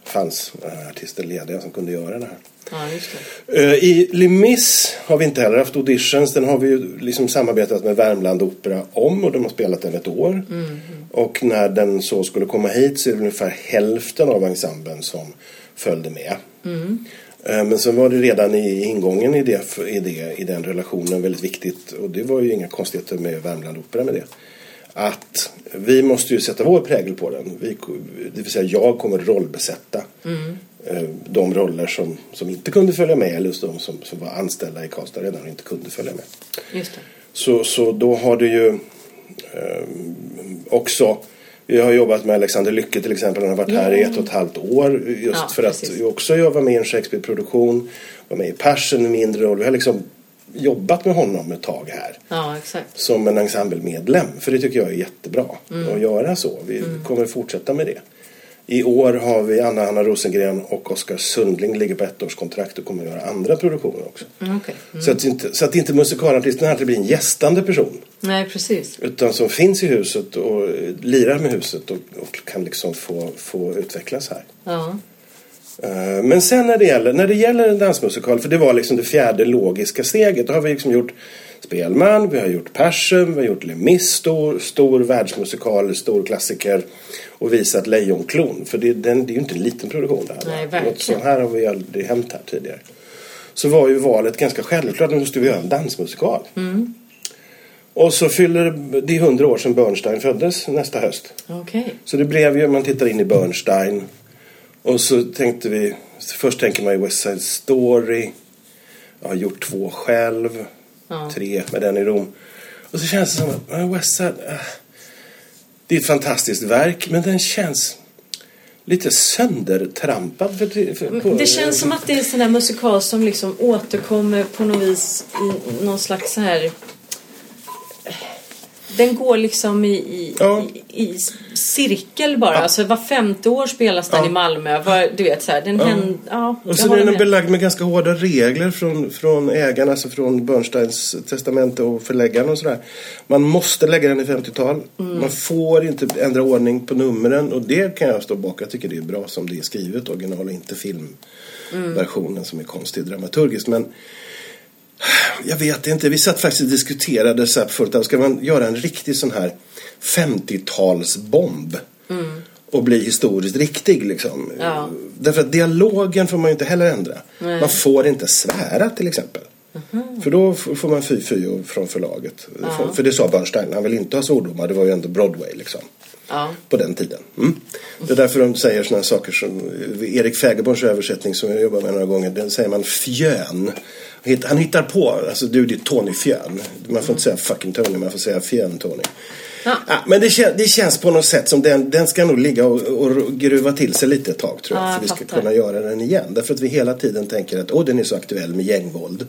Speaker 3: fanns eh, artister lediga som kunde göra det här.
Speaker 2: Ja, just det.
Speaker 3: Eh, I Limis har vi inte heller haft auditions. Den har vi ju liksom samarbetat med Värmland Opera om och de har spelat den ett år. Och när den så skulle komma hit så är det ungefär hälften av ensemblen som följde med. Eh, Men sen var det redan i ingången i, det, i, det, i den relationen väldigt viktigt och det var ju inga konstigheter med Värmland Opera med det. Att vi måste ju sätta vår prägel på den. Vi, ko- det vill säga jag kommer rollbesätta eh, de roller som, som inte kunde följa med eller just de som, som var anställda i Karlstad redan och inte kunde följa med.
Speaker 2: Just det.
Speaker 3: Så, så då har du ju ehm, också vi har jobbat med Alexander Lycke till exempel. Han har varit här i ett och ett halvt år. Just
Speaker 2: Ja,
Speaker 3: för att
Speaker 2: precis.
Speaker 3: ju också jag var med i en Shakespeare-produktion. Var med i Passion i mindre roll. Vi har liksom jobbat med honom ett tag här
Speaker 2: Ja, exakt.
Speaker 3: som en ensemblemedlem. För det tycker jag är jättebra
Speaker 2: Mm.
Speaker 3: att göra så. Vi kommer fortsätta med det. I år har vi Anna-Hanna Rosengren och Oskar Sundling ligger på ettårskontrakt och kommer göra andra produktioner också.
Speaker 2: Mm, Okej.
Speaker 3: Så, att inte, så att inte musikalartisten här blir en gästande person.
Speaker 2: Nej, precis.
Speaker 3: Utan som finns i huset och eh, lirar med huset och, och kan liksom få, få utvecklas här.
Speaker 2: Ja.
Speaker 3: Eh, Men sen när det gäller, när det gäller en dansmusikal, för det var liksom det fjärde logiska steget. Då har vi liksom gjort Spelman, vi har gjort Passion, vi har gjort Les Mis, stor, stor världsmusikal, stor klassiker. Och visat Lejonklon, för det, den, det är ju inte en liten produktion det här.
Speaker 2: Nej,
Speaker 3: va?
Speaker 2: verkligen.
Speaker 3: Något sånt här har vi aldrig hänt här tidigare. Så var ju valet ganska självklart, nu måste vi göra en dansmusikal.
Speaker 2: Mm.
Speaker 3: Och så fyller det är hundra år sedan Bernstein föddes nästa höst.
Speaker 2: Okej.
Speaker 3: Så det blev ju, man tittar in i Bernstein. Och så tänkte vi, först tänker man ju West Side Story. Jag har gjort två själv.
Speaker 2: Ja.
Speaker 3: Tre med den i Rom. Och så känns det som att men West Side, eh, det är ett fantastiskt verk. Men den känns lite söndertrampad. För, för, på,
Speaker 2: Det känns som att det är en sån där musikal som liksom återkommer på något vis i någon slags så här... Den går liksom i, i,
Speaker 3: Ja.
Speaker 2: i, i cirkel bara. Alltså var femte år spelas den
Speaker 3: Ja.
Speaker 2: i Malmö. Var, du vet så här, den ja. händer... Ja, jag
Speaker 3: Och så
Speaker 2: håller
Speaker 3: är den
Speaker 2: med.
Speaker 3: belagd med ganska hårda regler från, från ägarna, alltså från Bernsteins testamente och förläggaren och sådär. Man måste lägga den i 50-tal.
Speaker 2: Mm.
Speaker 3: Man får inte ändra ordning på numren och det kan jag stå bakom. Jag tycker det är bra som det är skrivet, original och inte filmversionen
Speaker 2: Mm.
Speaker 3: som är konstig dramaturgiskt. Men jag vet inte, vi satt faktiskt och diskuterade så här förut, att ska man göra en riktig sån här 50-talsbomb? Och bli historiskt riktig liksom.
Speaker 2: Ja.
Speaker 3: Därför att dialogen får man ju inte heller ändra.
Speaker 2: Nej. Mhm.
Speaker 3: Man får inte svära till exempel. För då f- får man fy-fy från förlaget. För- För det sa Bernstein, han vill inte ha svordomar, det var ju ändå Broadway liksom.
Speaker 2: Ja.
Speaker 3: På den tiden. Mm. Det är därför de säger sådana saker som Erik Fägerborns översättning som jag jobbar med några gånger. Den säger man fjön. Hitt- Han hittar på, alltså du det är Tony Fjön. Man får inte säga fucking Tony, man får säga fjön Tony.
Speaker 2: Ja.
Speaker 3: men det, kän- det känns på något sätt som den, den ska nog ligga och, och gruva till sig lite ett tag tror jag.
Speaker 2: Ja,
Speaker 3: för vi
Speaker 2: jag
Speaker 3: ska
Speaker 2: fattar.
Speaker 3: kunna göra den igen. Därför att vi hela tiden tänker att åh den är så aktuell med gängvåld.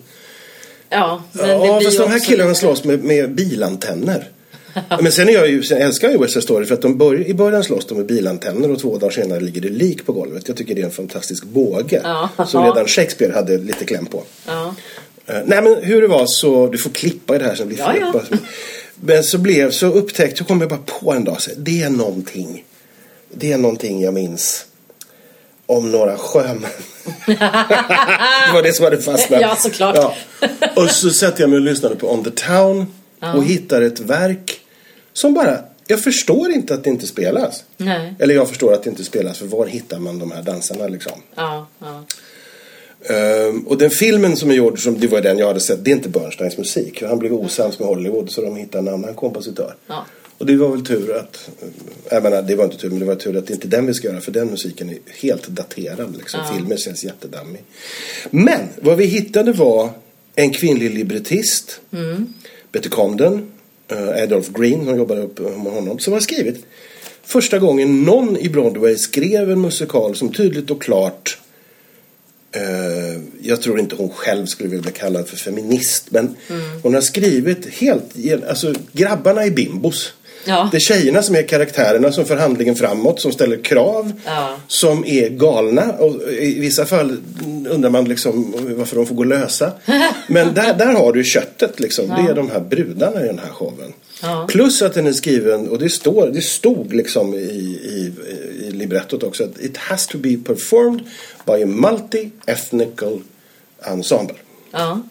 Speaker 2: Ja, men det
Speaker 3: Ja,
Speaker 2: blir
Speaker 3: fast
Speaker 2: ju
Speaker 3: de här
Speaker 2: också
Speaker 3: killarna
Speaker 2: lite-
Speaker 3: slåss med, med bilantenner. Men sen är jag ju, sen älskar jag ju West Side Story för att de bör, i början slåss de med bilantenner och två dagar senare ligger det lik på golvet. Jag tycker det är en fantastisk båge
Speaker 2: Ja.
Speaker 3: som redan Shakespeare hade lite kläm på.
Speaker 2: Ja.
Speaker 3: Eh, nej men hur det var så, du får klippa i det här sen. Blir
Speaker 2: Ja,
Speaker 3: fel.
Speaker 2: ja.
Speaker 3: Men så blev, så upptäckte, så kom jag bara på en dag, så, här, det är någonting. Det är någonting jag minns. Om några sjömän. det var det som hade fastnat.
Speaker 2: Ja, såklart.
Speaker 3: Och så satte jag mig och lyssnade på On the Town. Och hittade ett verk som bara, jag förstår inte att det inte spelas.
Speaker 2: Nej.
Speaker 3: Eller jag förstår att det inte spelas, för var hittar man de här dansarna liksom?
Speaker 2: Ja, ja.
Speaker 3: Ehm, och den filmen som är gjord, som, det var den jag hade sett, det är inte Bernsteins musik. Han blev osams med Hollywood så de hittade en annan kompositör.
Speaker 2: Ja.
Speaker 3: Och det var väl tur att, eh, jag menar det var inte tur men det var tur att det inte är den vi ska göra för den musiken är helt daterad liksom. Filmen känns jättedammig. Men vad vi hittade var en kvinnlig librettist, Betty Comden, eh, Adolph Green, hon jobbade upp eh, med honom, som har skrivit första gången någon i Broadway skrev en musikal som tydligt och klart Eh, jag tror inte hon själv skulle vilja bli kallad för feminist. Men
Speaker 2: Mm.
Speaker 3: hon har skrivit helt... gen- Alltså, grabbarna är bimbos.
Speaker 2: Ja.
Speaker 3: Det är tjejerna som är karaktärerna som för handlingen framåt, som ställer krav.
Speaker 2: Ja.
Speaker 3: Som är galna. Och I vissa fall undrar man liksom varför de får gå lösa. Men där, där har du köttet liksom. Det är de här brudarna i den här showen.
Speaker 2: Ja.
Speaker 3: Plus att den är skriven, och det, står, det stod liksom i, i, i librettot också, att it has to be performed by a multi-ethnical ensemble.
Speaker 2: Ja.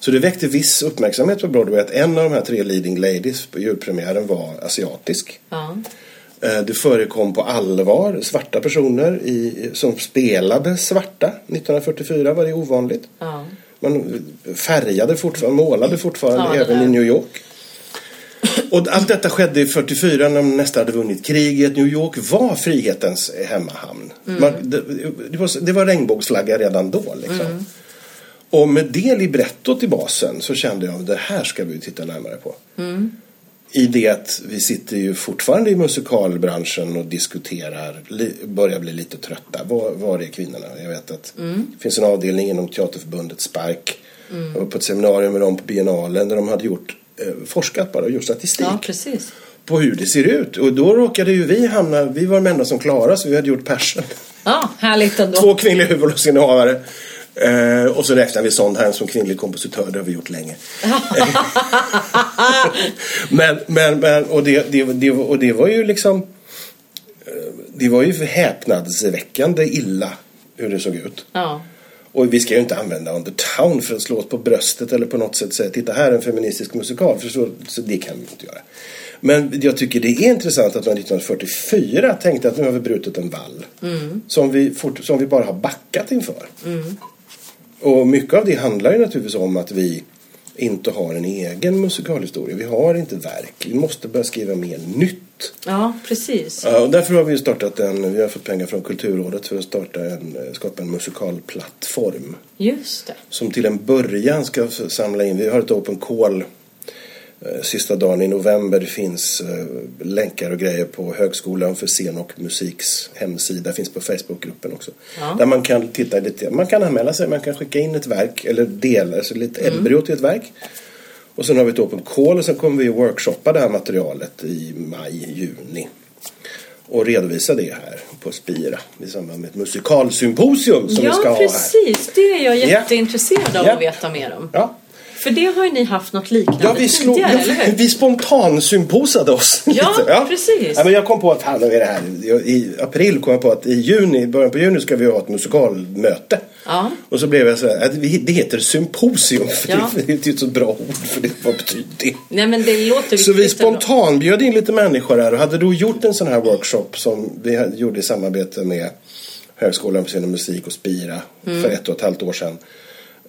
Speaker 3: Så det väckte viss uppmärksamhet på Broadway att en av de här tre leading ladies på julpremiären var asiatisk.
Speaker 2: Ja.
Speaker 3: Eh, Det förekom på allvar svarta personer i, som spelade svarta. 1944 var det ovanligt.
Speaker 2: Ja.
Speaker 3: Man färgade fortfarande, målade fortfarande
Speaker 2: Ja, det
Speaker 3: även
Speaker 2: där.
Speaker 3: i New York. Och allt detta skedde i 44 när man nästan hade vunnit kriget. New York var frihetens hemmahamn. Man, det, det, var, det var regnbågsflagga redan då. Liksom. Och med det librettot i basen så kände jag att det här ska vi titta närmare på. I det att vi sitter ju fortfarande i musikalbranschen och diskuterar, li, börjar bli lite trötta. Var, var är kvinnorna? Jag vet att det finns en avdelning inom Teaterförbundet Spark. Jag var på ett seminarium med dem på biennalen där de hade gjort, eh, forskat bara och gjort statistik
Speaker 2: ja, precis.
Speaker 3: på hur det ser ut. Och då råkade ju vi hamna, vi var de enda som klarade så vi hade gjort Persson.
Speaker 2: Ja, härligt ändå.
Speaker 3: Två kvinnliga huvudrollsinnehavare. Eh, och så räknar vi Sondheim som kvinnlig kompositör, det har vi gjort länge. men, men, men, och det, det, det, och det var ju liksom... eh, Det var ju häpnadsväckande illa hur det såg ut.
Speaker 2: Ja.
Speaker 3: Och vi ska ju inte använda On the Town för att slå oss på bröstet eller på något sätt säga titta här är en feministisk musikal. För så, så det kan vi inte göra. Men jag tycker det är intressant att man 1944 tänkte att nu har vi brutit en vall. Som, vi fort, som vi bara har backat inför. Och mycket av det handlar ju naturligtvis om att vi inte har en egen musikalhistoria. Vi har inte verk. Vi måste börja skriva mer nytt.
Speaker 2: ja, precis.
Speaker 3: Ja, och därför har vi ju startat en, vi har fått pengar från Kulturrådet för att starta en, eh, skapa en musikalplattform.
Speaker 2: Just det.
Speaker 3: Som till en början ska f- samla in, vi har ett open call eh, sista dagen i november. Det finns eh, länkar och grejer på Högskolan för scen och musiks hemsida. Finns på Facebookgruppen också.
Speaker 2: Ja.
Speaker 3: Där man kan titta lite, man kan anmäla sig, man kan skicka in ett verk eller delar, alltså lite
Speaker 2: Mm.
Speaker 3: embryo till ett verk. Och sen har vi ett open call och sen kommer vi att workshoppa det här materialet i maj, juni. Och redovisa det här på Spira i samband med ett musikalsymposium som vi ska
Speaker 2: Ja,
Speaker 3: ha här.
Speaker 2: precis. Det är jag jätteintresserad av
Speaker 3: Ja.
Speaker 2: att veta mer om.
Speaker 3: Ja,
Speaker 2: För det har ju ni haft något liknande
Speaker 3: Ja, vi, slog,
Speaker 2: tidigare,
Speaker 3: ja,
Speaker 2: eller hur?
Speaker 3: vi spontansymposade oss.
Speaker 2: Ja, precis.
Speaker 3: Ja, men jag kom på att fan, är det här. jag- I april kom jag på att i juni, i början på juni ska vi ha ett musikalmöte.
Speaker 2: Ja.
Speaker 3: Och så blev jag så här, att vi- det heter symposium. För
Speaker 2: Ja.
Speaker 3: det, det är ju ett så bra ord, för det, vad betyder det?
Speaker 2: Nej, men det låter viktigt
Speaker 3: Så vi
Speaker 2: ändå.
Speaker 3: spontanbjöd in lite människor här och hade då gjort en sån här workshop som vi hade- gjorde i samarbete med Högskolan för scen och musik och Spira för ett och ett halvt år sedan.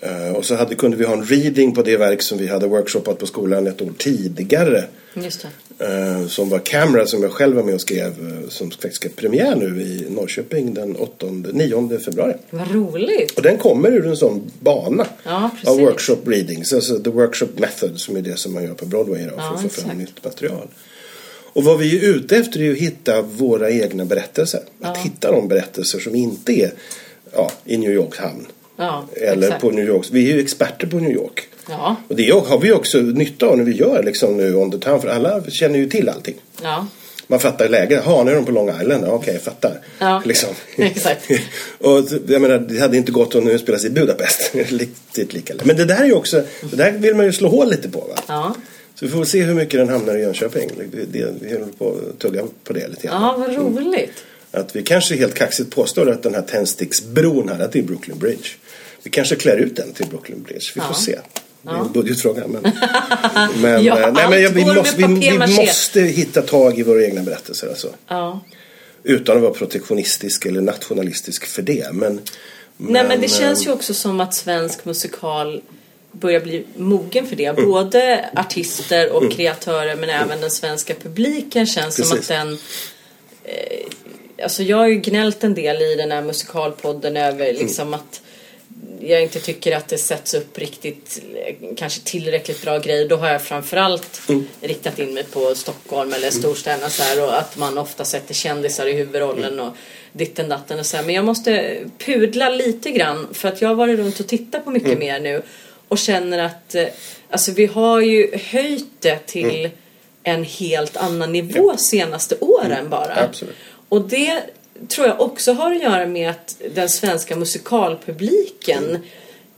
Speaker 3: Eh, Och så hade, kunde vi ha en reading på det verk som vi hade workshopat på skolan ett år tidigare.
Speaker 2: Just det.
Speaker 3: eh, Som var Camera som jag själv var med och skrev eh, som faktiskt ska premiär nu i Norrköping den 8, 9 februari.
Speaker 2: Vad roligt.
Speaker 3: Och den kommer ur en sån bana
Speaker 2: Ja, precis.
Speaker 3: av workshop readings. Alltså the workshop method som är det som man gör på Broadway idag för
Speaker 2: Ja,
Speaker 3: att få fram
Speaker 2: exakt.
Speaker 3: nytt material. Och vad vi är ute efter är ju att hitta våra egna berättelser. Att hitta de berättelser som inte är ja, i New Yorks hamn.
Speaker 2: Ja,
Speaker 3: Eller
Speaker 2: exakt.
Speaker 3: på New Yorks. Vi är ju experter på New York.
Speaker 2: Ja,
Speaker 3: Och det har vi också nytta av när vi gör liksom nu on the town. För alla känner ju till allting.
Speaker 2: ja.
Speaker 3: Man fattar läget. Jaha, nu är de på Long Island. Ja, Okej, jag fattar.
Speaker 2: Ja,
Speaker 3: Liksom.
Speaker 2: exakt.
Speaker 3: och jag menar, det hade inte gått om nu spelas i Budapest. Riktigt lika. lätt. Men det där är ju också, det där vill man ju slå hål lite på. Va?
Speaker 2: Ja.
Speaker 3: Så vi får väl se hur mycket den hamnar i Jönköping. Det- det- Vi håller på att tugga på det lite grann.
Speaker 2: ja, vad roligt.
Speaker 3: Att vi kanske helt kaxigt påstår att den här tändsticksbron här, att det är Brooklyn Bridge. Vi kanske klär ut den till Brooklyn Bridge. Vi får
Speaker 2: Ja.
Speaker 3: se. Det är en budgetfråga. Men, men,
Speaker 2: Ja,
Speaker 3: eh, nej, men
Speaker 2: allt
Speaker 3: jag- vi,
Speaker 2: går med
Speaker 3: måste, vi, vi
Speaker 2: papier-maché.
Speaker 3: måste hitta tag i våra egna berättelser. Alltså.
Speaker 2: Ja.
Speaker 3: Utan att vara protektionistisk eller nationalistisk för det. Men,
Speaker 2: Nej, men det
Speaker 3: eh,
Speaker 2: känns ju också som att svensk musikal börjar bli mogen för det. Både artister och kreatörer men även den svenska publiken känns som att
Speaker 3: Precis.
Speaker 2: den... Eh, alltså jag har ju gnällt en del i den här musikalpodden över liksom att jag inte tycker att det sätts upp riktigt, eh, kanske tillräckligt bra grejer, då har jag framförallt riktat in mig på Stockholm eller storstäderna så här, och att man ofta sätter kändisar i huvudrollen och ditten datten och så här. Men jag måste pudla lite grann för att jag har varit runt och tittat på mycket mer nu och känner att eh, alltså vi har ju höjt det till en helt annan nivå senaste åren bara.
Speaker 3: Absolut.
Speaker 2: Och det tror jag också har att göra med att den svenska musikalpubliken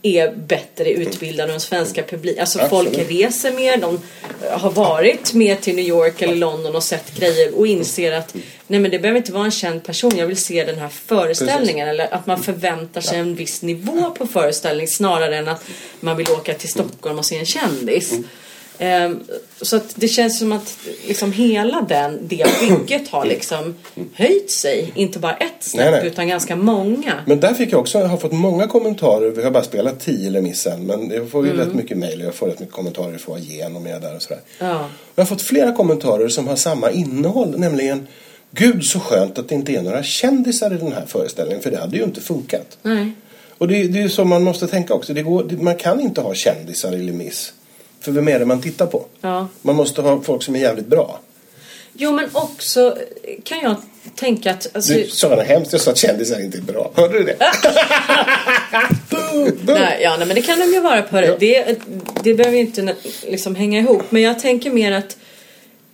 Speaker 2: är bättre utbildad än den svenska publiken. Alltså
Speaker 3: Absolut.
Speaker 2: folk reser mer, de eh, har varit mer till New York eller London och sett grejer och inser att nej men det behöver inte vara en känd person, jag vill se den här föreställningen. Eller att man förväntar sig en viss nivå på föreställning snarare än att man vill åka till Stockholm och se en kändis.
Speaker 3: Mm.
Speaker 2: Ehm, Så att det känns som att liksom hela den, det bygget har liksom höjt sig. Inte bara ett snäpp
Speaker 3: Mm. Nej, nej.
Speaker 2: utan ganska många.
Speaker 3: Men där fick jag också, jag har fått många kommentarer. Vi har bara spelat tio remissen. Men jag får ju
Speaker 2: Mm.
Speaker 3: rätt mycket mejl och jag får rätt mycket kommentarer från igen om jag är där och sådär.
Speaker 2: Ja.
Speaker 3: Jag har fått flera kommentarer som har samma innehåll. Nämligen, gud så skönt att det inte är några kändisar i den här föreställningen. För det hade ju inte funkat.
Speaker 2: Nej.
Speaker 3: Och det, det är ju så man måste tänka också. Det går, det, man kan inte ha kändisar i Limis. För vem är det man tittar på?
Speaker 2: Ja.
Speaker 3: Man måste ha folk som är jävligt bra.
Speaker 2: Jo men också eh, kan jag tänka att... Alltså,
Speaker 3: Du sa det hemskt, jag sa att kändisar inte är bra. Hörde du det?
Speaker 2: Ah.
Speaker 3: Boom, boom.
Speaker 2: Nej, ja, nej, men det kan de ju vara på det.
Speaker 3: Ja.
Speaker 2: Det, det behöver ju inte nä- liksom hänga ihop. Men jag tänker mer att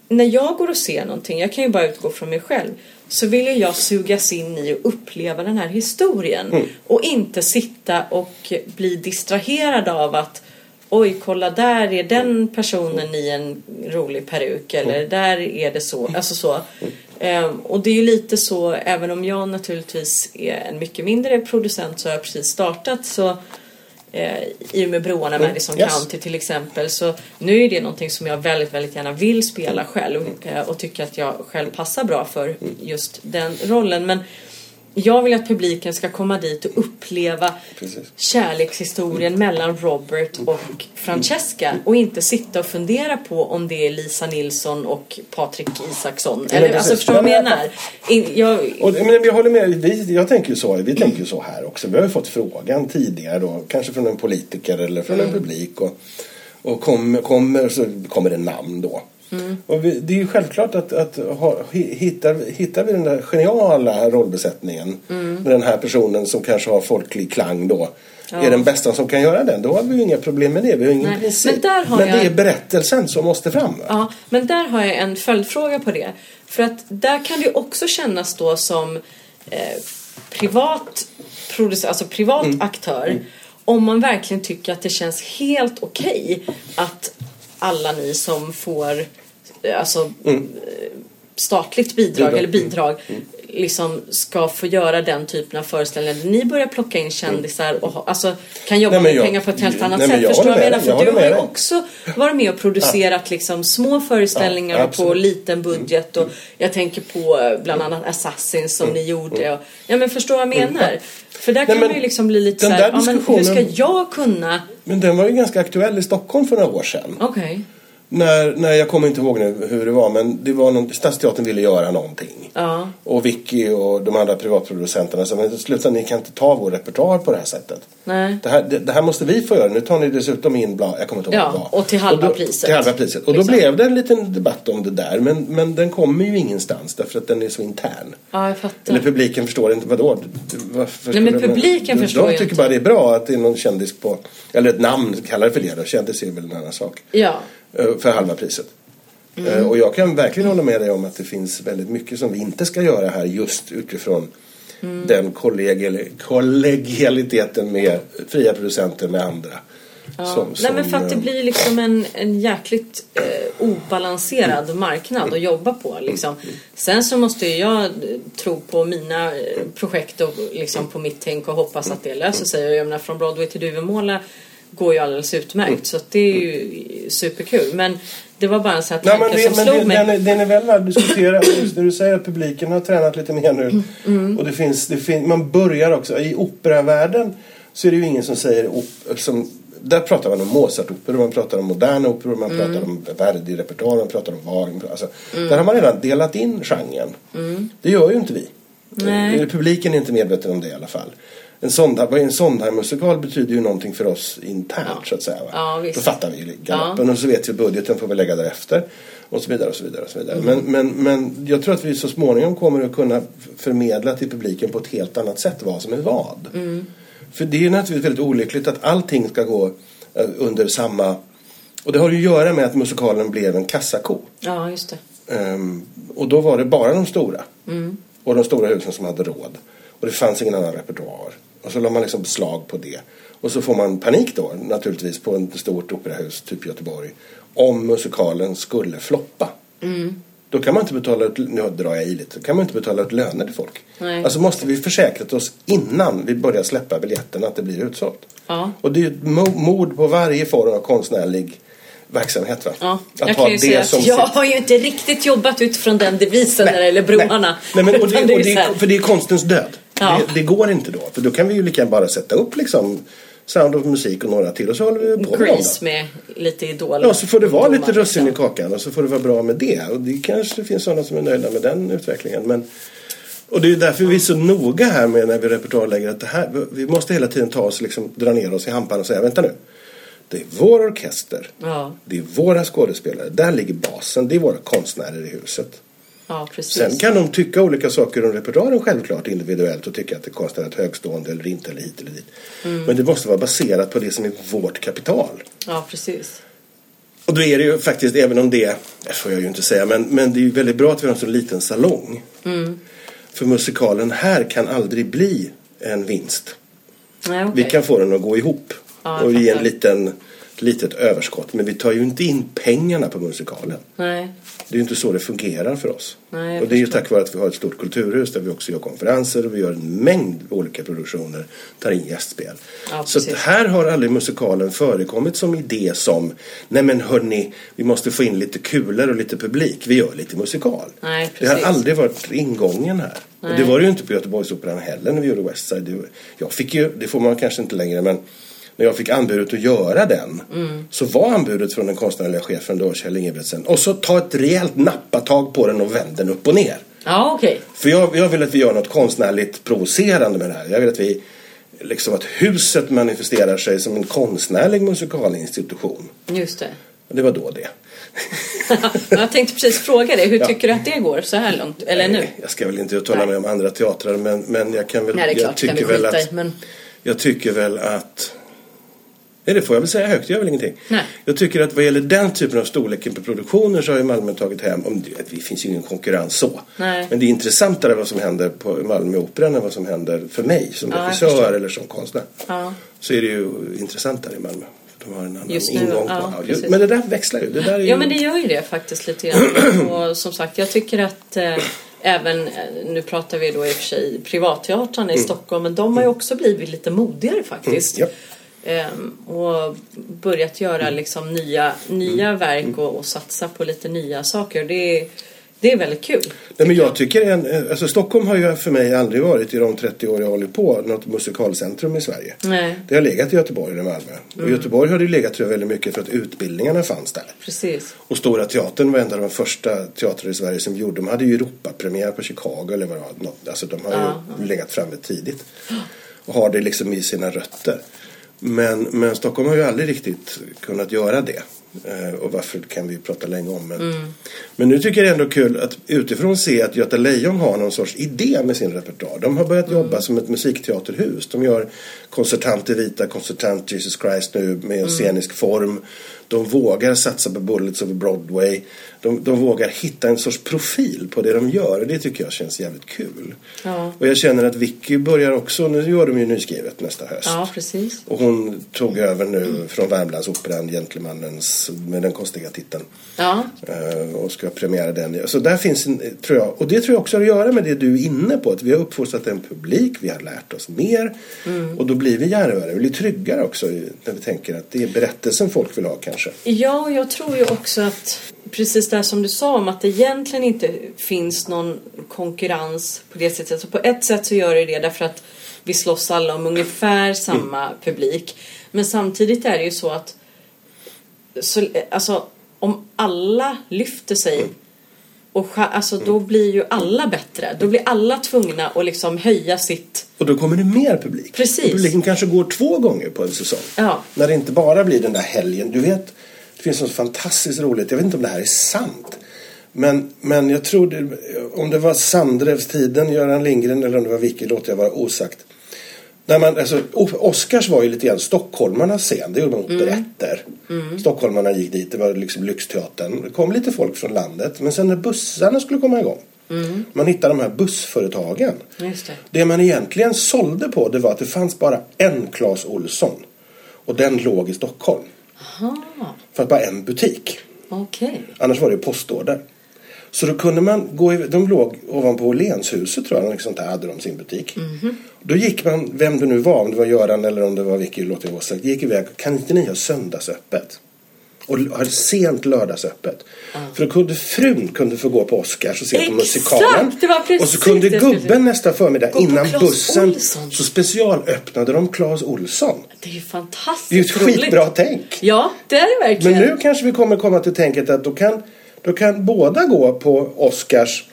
Speaker 2: när jag går och ser någonting, jag kan ju bara utgå från mig själv, så vill ju jag sugas in i och uppleva den här historien. Och inte sitta och bli distraherad av att Oj, kolla där är den personen i en rolig peruk eller där är det så. Alltså så. Ehm, och det är ju lite så, även om jag naturligtvis är en mycket mindre producent så har jag precis startat så eh, i och med broarna med Madison
Speaker 3: Yes.
Speaker 2: County till exempel. Så nu är det någonting som jag väldigt, väldigt gärna vill spela själv eh, och tycker att jag själv passar bra för just den rollen. Men jag vill att publiken ska komma dit och uppleva
Speaker 3: Precis.
Speaker 2: kärlekshistorien mellan Robert och Francesca och inte sitta och fundera på om det är Lisa Nilsson och Patrik Isaksson.
Speaker 3: men
Speaker 2: Eller,
Speaker 3: precis.
Speaker 2: alltså förstår du vad jag
Speaker 3: Ja,
Speaker 2: menar? In, jag,
Speaker 3: Och, men jag håller med, vi, jag tänker ju så, vi tänker ju så här också. Vi har ju fått frågan tidigare då, kanske från en politiker eller från
Speaker 2: Mm.
Speaker 3: en publik. Och, och kom, kommer, så kommer det namn då.
Speaker 2: Mm.
Speaker 3: Och vi, det är ju självklart att, att ha, hi- hittar, hittar vi den där geniala rollbesättningen
Speaker 2: Mm.
Speaker 3: med den här personen som kanske har folklig klang då. Är den bästa som kan göra den, då har vi ju inga problem med det. Vi har ju ingen
Speaker 2: Nej,
Speaker 3: princip.
Speaker 2: men där har
Speaker 3: det
Speaker 2: jag-
Speaker 3: är berättelsen som måste fram. va?
Speaker 2: Ja, men där har jag en följdfråga på det. För att där kan det ju också kännas då som eh, privat, producent, alltså privat
Speaker 3: Mm.
Speaker 2: aktör. Om man verkligen tycker att det känns helt okej att alla ni som får eh, alltså, eh, statligt bidrag,
Speaker 3: Mm. Bidrag. Mm.
Speaker 2: eller bidrag liksom ska få göra den typen av föreställningar. Ni börjar plocka in kändisar och ha, alltså, kan jobba
Speaker 3: Nej, men
Speaker 2: med
Speaker 3: jag-
Speaker 2: pengar på ett helt annat
Speaker 3: nej, men
Speaker 2: sätt.
Speaker 3: jag
Speaker 2: Förstår du
Speaker 3: håller
Speaker 2: vad jag
Speaker 3: med
Speaker 2: menar?
Speaker 3: dig. Jag
Speaker 2: För du har
Speaker 3: håller med
Speaker 2: ju
Speaker 3: dig.
Speaker 2: också varit med och producerat liksom små föreställningar
Speaker 3: Ja,
Speaker 2: och på
Speaker 3: absolut.
Speaker 2: liten budget. Och jag tänker på eh, bland annat Assassins som ni gjorde. Och, ja men förstår vad jag menar? För där kan
Speaker 3: Mm. men
Speaker 2: man ju liksom bli lite
Speaker 3: den
Speaker 2: såhär,
Speaker 3: där
Speaker 2: ja men hur ska
Speaker 3: diskussionen-
Speaker 2: jag kunna?
Speaker 3: Men den var ju ganska aktuell i Stockholm för några år sedan.
Speaker 2: Okej.
Speaker 3: När, när jag kommer inte ihåg nu hur det var, men det var någon, Stadsteatern ville göra någonting.
Speaker 2: Ja.
Speaker 3: Och Vicky och de andra privatproducenterna sa, men sluta ni kan inte ta vår repertoar på det här sättet.
Speaker 2: Nej.
Speaker 3: Det, här, det, det här måste vi få göra, nu tar ni dessutom in bla, jag kommer inte ihåg
Speaker 2: Ja,
Speaker 3: vad det var.
Speaker 2: och till halva
Speaker 3: då,
Speaker 2: priset.
Speaker 3: Till halva priset. Och då
Speaker 2: Liksom.
Speaker 3: blev det en liten debatt om det där, men, men den kommer ju ingenstans därför att den är så intern.
Speaker 2: Ja jag fattar.
Speaker 3: Eller publiken förstår inte, vadå? Varför
Speaker 2: Nej, men
Speaker 3: skulle de-
Speaker 2: publiken
Speaker 3: de,
Speaker 2: förstår
Speaker 3: De
Speaker 2: ju
Speaker 3: tycker
Speaker 2: inte.
Speaker 3: bara det är bra att det är någon kändis på, eller ett namn, kallar det för det då, kändis är väl en annan sak.
Speaker 2: Ja.
Speaker 3: Eh, för halva priset.
Speaker 2: Mm.
Speaker 3: Eh, Och jag kan verkligen hålla med dig om att det finns väldigt mycket som vi inte ska göra här just utifrån
Speaker 2: Mm.
Speaker 3: den kollegial, kollegialiteten med fria producenter med andra. Som-
Speaker 2: Nej men
Speaker 3: som,
Speaker 2: för att det
Speaker 3: eh,
Speaker 2: blir liksom en, en jäkligt eh, obalanserad
Speaker 3: Mm.
Speaker 2: marknad att jobba på. Liksom. Sen så måste ju jag eh, tro på mina eh, projekt och liksom på mitt tänk och hoppas att det löser sig. Och Jag menar från Broadway till Duvemåla går ju alldeles
Speaker 3: Mm.
Speaker 2: utmärkt så att det är ju superkul. Men det var bara en sån här
Speaker 3: Nej,
Speaker 2: tanke
Speaker 3: men det,
Speaker 2: som
Speaker 3: men
Speaker 2: slog
Speaker 3: det,
Speaker 2: mig.
Speaker 3: den, är, den är väl värd att diskutera. Just när du säger att publiken har tränat lite mer
Speaker 2: Mm,
Speaker 3: nu. Och det finns, det fin, man börjar också. I operavärlden så är det ju ingen som säger... Op, som, där pratar man om Mozart-operor, man pratar om moderna operor, man
Speaker 2: Mm.
Speaker 3: pratar om Verdi-repertoar, man pratar om Wagner. Alltså, Där har man redan delat in genren. Det gör ju inte vi.
Speaker 2: Mm.
Speaker 3: Eh,
Speaker 2: Nej.
Speaker 3: Eller publiken är inte medveten om det i alla fall. En Sondheim, vad är en Sondheim-musikal betyder ju någonting för oss internt så att säga. Va?
Speaker 2: Ja, visst.
Speaker 3: Då fattar vi ju galoppen och så vet vi budgeten får vi lägga därefter. Och så vidare och så vidare. Och så vidare. Men, men, men jag tror att vi så småningom kommer att kunna f- förmedla till publiken på ett helt annat sätt vad som är vad. För det är ju naturligtvis väldigt olyckligt att allting ska gå eh, under samma... Och det har ju att göra med att musikalen blev en kassako.
Speaker 2: Ja, just det.
Speaker 3: Ehm, och då var det bara de stora.
Speaker 2: Mm.
Speaker 3: Och de stora husen som hade råd. Och det fanns ingen annan repertoar. Och så la man liksom beslag på det. Och så får man panik då naturligtvis på ett stort operahus, typ Göteborg. Om musikalen skulle floppa.
Speaker 2: Mm.
Speaker 3: Då kan man inte betala ut, nu drar jag i lite, då kan man inte betala ut löner till folk.
Speaker 2: Nej.
Speaker 3: Alltså måste vi försäkrat oss innan vi börjar släppa biljetterna att det blir utsålt.
Speaker 2: Ja.
Speaker 3: Och det är ju ett mo- mord på varje form av konstnärlig verksamhet va?
Speaker 2: Ja,
Speaker 3: att
Speaker 2: jag
Speaker 3: ha
Speaker 2: kan ju
Speaker 3: det
Speaker 2: säga att
Speaker 3: som
Speaker 2: jag
Speaker 3: sitt-
Speaker 2: har ju inte riktigt jobbat utifrån den devisen när det gäller broarna.
Speaker 3: Nej, men, och
Speaker 2: Utan
Speaker 3: det, och
Speaker 2: ju så
Speaker 3: det,
Speaker 2: här-
Speaker 3: för det är konstens död.
Speaker 2: Ja.
Speaker 3: Det, det går inte då. För då kan vi ju lika gärna bara sätta upp liksom Sound of Music och några till och så håller vi på med dem.
Speaker 2: Grease
Speaker 3: då.
Speaker 2: med lite idol.
Speaker 3: Ja, så får det vara
Speaker 2: ungdomar,
Speaker 3: lite russin i
Speaker 2: liksom.
Speaker 3: kakan och så får det vara bra med det. Och det kanske finns sådana som är nöjda med den utvecklingen. Men, och det är ju därför vi är så noga här med när vi repertoarlägger att det här, vi måste hela tiden ta oss, liksom, dra ner oss i hampan och säga vänta nu. Det är vår orkester.
Speaker 2: Ja.
Speaker 3: Det är våra skådespelare. Där ligger basen. Det är våra konstnärer i huset.
Speaker 2: Ja, precis.
Speaker 3: Sen kan de tycka olika saker om repertoaren självklart individuellt och tycka att det är konstnärligt högstående eller inte eller hit eller dit.
Speaker 2: Mm.
Speaker 3: Men det måste vara baserat på det som är vårt kapital.
Speaker 2: Ja, precis.
Speaker 3: Och då är det ju faktiskt, även om det, det får jag ju inte säga, men, men det är ju väldigt bra att vi har en så liten salong.
Speaker 2: Mm.
Speaker 3: För musikalen här kan aldrig bli en vinst.
Speaker 2: Nej,
Speaker 3: Vi
Speaker 2: okej.
Speaker 3: kan få den att gå ihop
Speaker 2: Ja, jag
Speaker 3: och ge en
Speaker 2: fattar.
Speaker 3: liten, litet överskott. Men vi tar ju inte in pengarna på musikalen.
Speaker 2: Nej.
Speaker 3: Det är ju inte så det fungerar för oss.
Speaker 2: Nej, jag
Speaker 3: och det är ju tack vare att vi har ett stort kulturhus där vi också gör konferenser och vi gör en mängd olika produktioner, tar in gästspel.
Speaker 2: Ja,
Speaker 3: så att
Speaker 2: precis.
Speaker 3: här har aldrig musikalen förekommit som idé som, nej men hörni, vi måste få in lite kulor och lite publik, vi gör lite musikal.
Speaker 2: Nej,
Speaker 3: det har
Speaker 2: precis.
Speaker 3: aldrig varit ingången här. Och det
Speaker 2: Nej.
Speaker 3: var det ju inte på Göteborgsoperan heller när vi gjorde West Side. Det- Jag fick ju, det får man kanske inte längre, men när jag fick anbudet att göra den
Speaker 2: Mm.
Speaker 3: så var anbudet från den konstnärliga chefen då, Kjell Ingebrigtsen, och så ta ett rejält nappatag på den och vänd den upp och ner.
Speaker 2: Ja, okej.
Speaker 3: För jag, jag vill att vi gör något konstnärligt provocerande med det här. Jag vill att vi, liksom att huset manifesterar sig som en konstnärlig musikalinstitution.
Speaker 2: Just det.
Speaker 3: Och det var då det.
Speaker 2: Men jag tänkte precis fråga dig, hur tycker du att det går så här långt? Eller nu?
Speaker 3: Jag ska väl inte uttala
Speaker 2: Nej.
Speaker 3: mig om andra teatrar men, men jag kan väl...
Speaker 2: Nej, det är
Speaker 3: jag
Speaker 2: klart, det kan vi skita i, men-
Speaker 3: Jag tycker väl att... Nej, det får jag väl säga högt, det gör väl ingenting.
Speaker 2: Nej.
Speaker 3: Jag tycker att vad gäller den typen av storleken på produktioner så har ju Malmö tagit hem... Om det, det finns ju ingen konkurrens så.
Speaker 2: Nej.
Speaker 3: Men det är intressantare vad som händer på Malmö Operan än vad som händer för mig som
Speaker 2: Ja, jag
Speaker 3: regissör eller som konstnär.
Speaker 2: Ja.
Speaker 3: Så är det ju intressantare i Malmö. De har en annan
Speaker 2: Just nu,
Speaker 3: ingång på...
Speaker 2: ja,
Speaker 3: Ja,
Speaker 2: precis.
Speaker 3: men det där växlar ju. Det där är ju...
Speaker 2: Ja, men det gör ju det faktiskt lite grann. Och som sagt, jag tycker att eh, även, eh, nu pratar vi då i och för sig privatteatern i Stockholm, men de har ju också blivit lite modigare faktiskt.
Speaker 3: Mm,
Speaker 2: Ehm, och börjat göra liksom nya, nya
Speaker 3: Mm.
Speaker 2: verk och, och satsa på lite nya saker. Det är, det är väldigt kul.
Speaker 3: Nej, men jag tycker en, alltså Stockholm har ju för mig aldrig varit i de 30 år jag håller på något musikalcentrum i Sverige.
Speaker 2: Nej.
Speaker 3: Det har legat i Göteborg och Malmö. Och Göteborg har det ju legat tror jag väldigt mycket för att utbildningarna fanns där.
Speaker 2: Precis.
Speaker 3: Och Stora Teatern var en av de första teatrar i Sverige som gjorde. De hade ju Europapremiär på Chicago eller vad det var. Nå- Alltså de har
Speaker 2: Ja,
Speaker 3: ju legat framme tidigt. Och har det liksom i sina rötter. Men, men Stockholm har ju aldrig riktigt kunnat göra det. Eh, Och varför kan vi prata länge om. Men, men nu tycker jag det är ändå kul att utifrån se att Göta Lejon har någon sorts idé med sin repertoar. De har börjat jobba som ett musikteaterhus. De gör konsertanter vita, konsertant Jesus Christ nu med en scenisk form. De vågar satsa på Bullets over Broadway. De, de vågar hitta en sorts profil på det de gör och det tycker jag känns jävligt kul.
Speaker 2: Ja.
Speaker 3: Och jag känner att Vicky börjar också, nu gör de ju nyskrivet nästa höst.
Speaker 2: Ja, precis.
Speaker 3: Och hon tog över nu från Värmlandsoperan, Gentlemannens, med den konstiga titeln.
Speaker 2: Ja,
Speaker 3: Eh, och ska premiera den. Så där finns en, eh, tror jag, och det tror jag också har att göra med det du är inne på. Att vi har uppfostrat en publik, vi har lärt oss mer. Och då blir vi djärvare, vi blir tryggare också i- när vi tänker att det är berättelsen folk vill ha kanske.
Speaker 2: Ja, och jag tror ju också att precis det här som du sa om att det egentligen inte finns någon konkurrens på det sättet. Så på ett sätt så gör det det därför att vi slåss alla om
Speaker 3: Mm.
Speaker 2: ungefär samma publik. Men samtidigt är det ju så att
Speaker 3: Mm.
Speaker 2: så, alltså, om alla lyfter sig Och cha- alltså, då blir ju alla bättre. Då blir alla tvungna att liksom höja sitt...
Speaker 3: Och då kommer det mer publik.
Speaker 2: Precis.
Speaker 3: Och Publiken kanske går två gånger på en säsong.
Speaker 2: Ja.
Speaker 3: När det inte bara blir den där helgen. Du vet, det finns något fantastiskt roligt. Jag vet inte om det här är sant. Men, men jag tror det, om det var Sandrevstiden, Göran Lindgren eller om det var Vicky låter jag vara osagt. När man, alltså, O- Oscars var ju lite grann stockholmarnas scen. Det gjorde
Speaker 2: Mm.
Speaker 3: man operetter. Stockholmarna gick dit. Det var liksom Lyxteatern. Det kom lite folk från landet. Men sen när bussarna skulle komma igång.
Speaker 2: Mm.
Speaker 3: Man hittade de här bussföretagen.
Speaker 2: Just det.
Speaker 3: Det man egentligen sålde på det var att det fanns bara en Clas Olsson. Och den låg i Stockholm.
Speaker 2: Aha,
Speaker 3: För att bara en butik.
Speaker 2: okej.
Speaker 3: Annars var det ju postorder. Så då kunde man gå i, de låg ovanpå Åhlénshuset tror jag, eller något sånt där hade de sin butik.
Speaker 2: Mhm.
Speaker 3: Då gick man, vem det nu var, om det var Göran eller om det var Vicky, låter jag vara sagt, gick iväg, kan inte ni ha söndagsöppet? Och l- ha sent lördagsöppet. För då kunde frun kunde få gå på Oscars och se på
Speaker 2: Exakt,
Speaker 3: musikalen.
Speaker 2: det var precis
Speaker 3: och så kunde
Speaker 2: det jag skulle säga.
Speaker 3: gubben nästa förmiddag
Speaker 2: Gå på
Speaker 3: innan
Speaker 2: Clas
Speaker 3: bussen
Speaker 2: Ohlson.
Speaker 3: så specialöppnade de Clas Olsson.
Speaker 2: Det är ju
Speaker 3: Det är ju ett
Speaker 2: fantastiskt roligt.
Speaker 3: skitbra tänk.
Speaker 2: Ja, det är det verkligen.
Speaker 3: Men nu kanske vi kommer komma till tänket att då kan, då kan båda gå på Oscars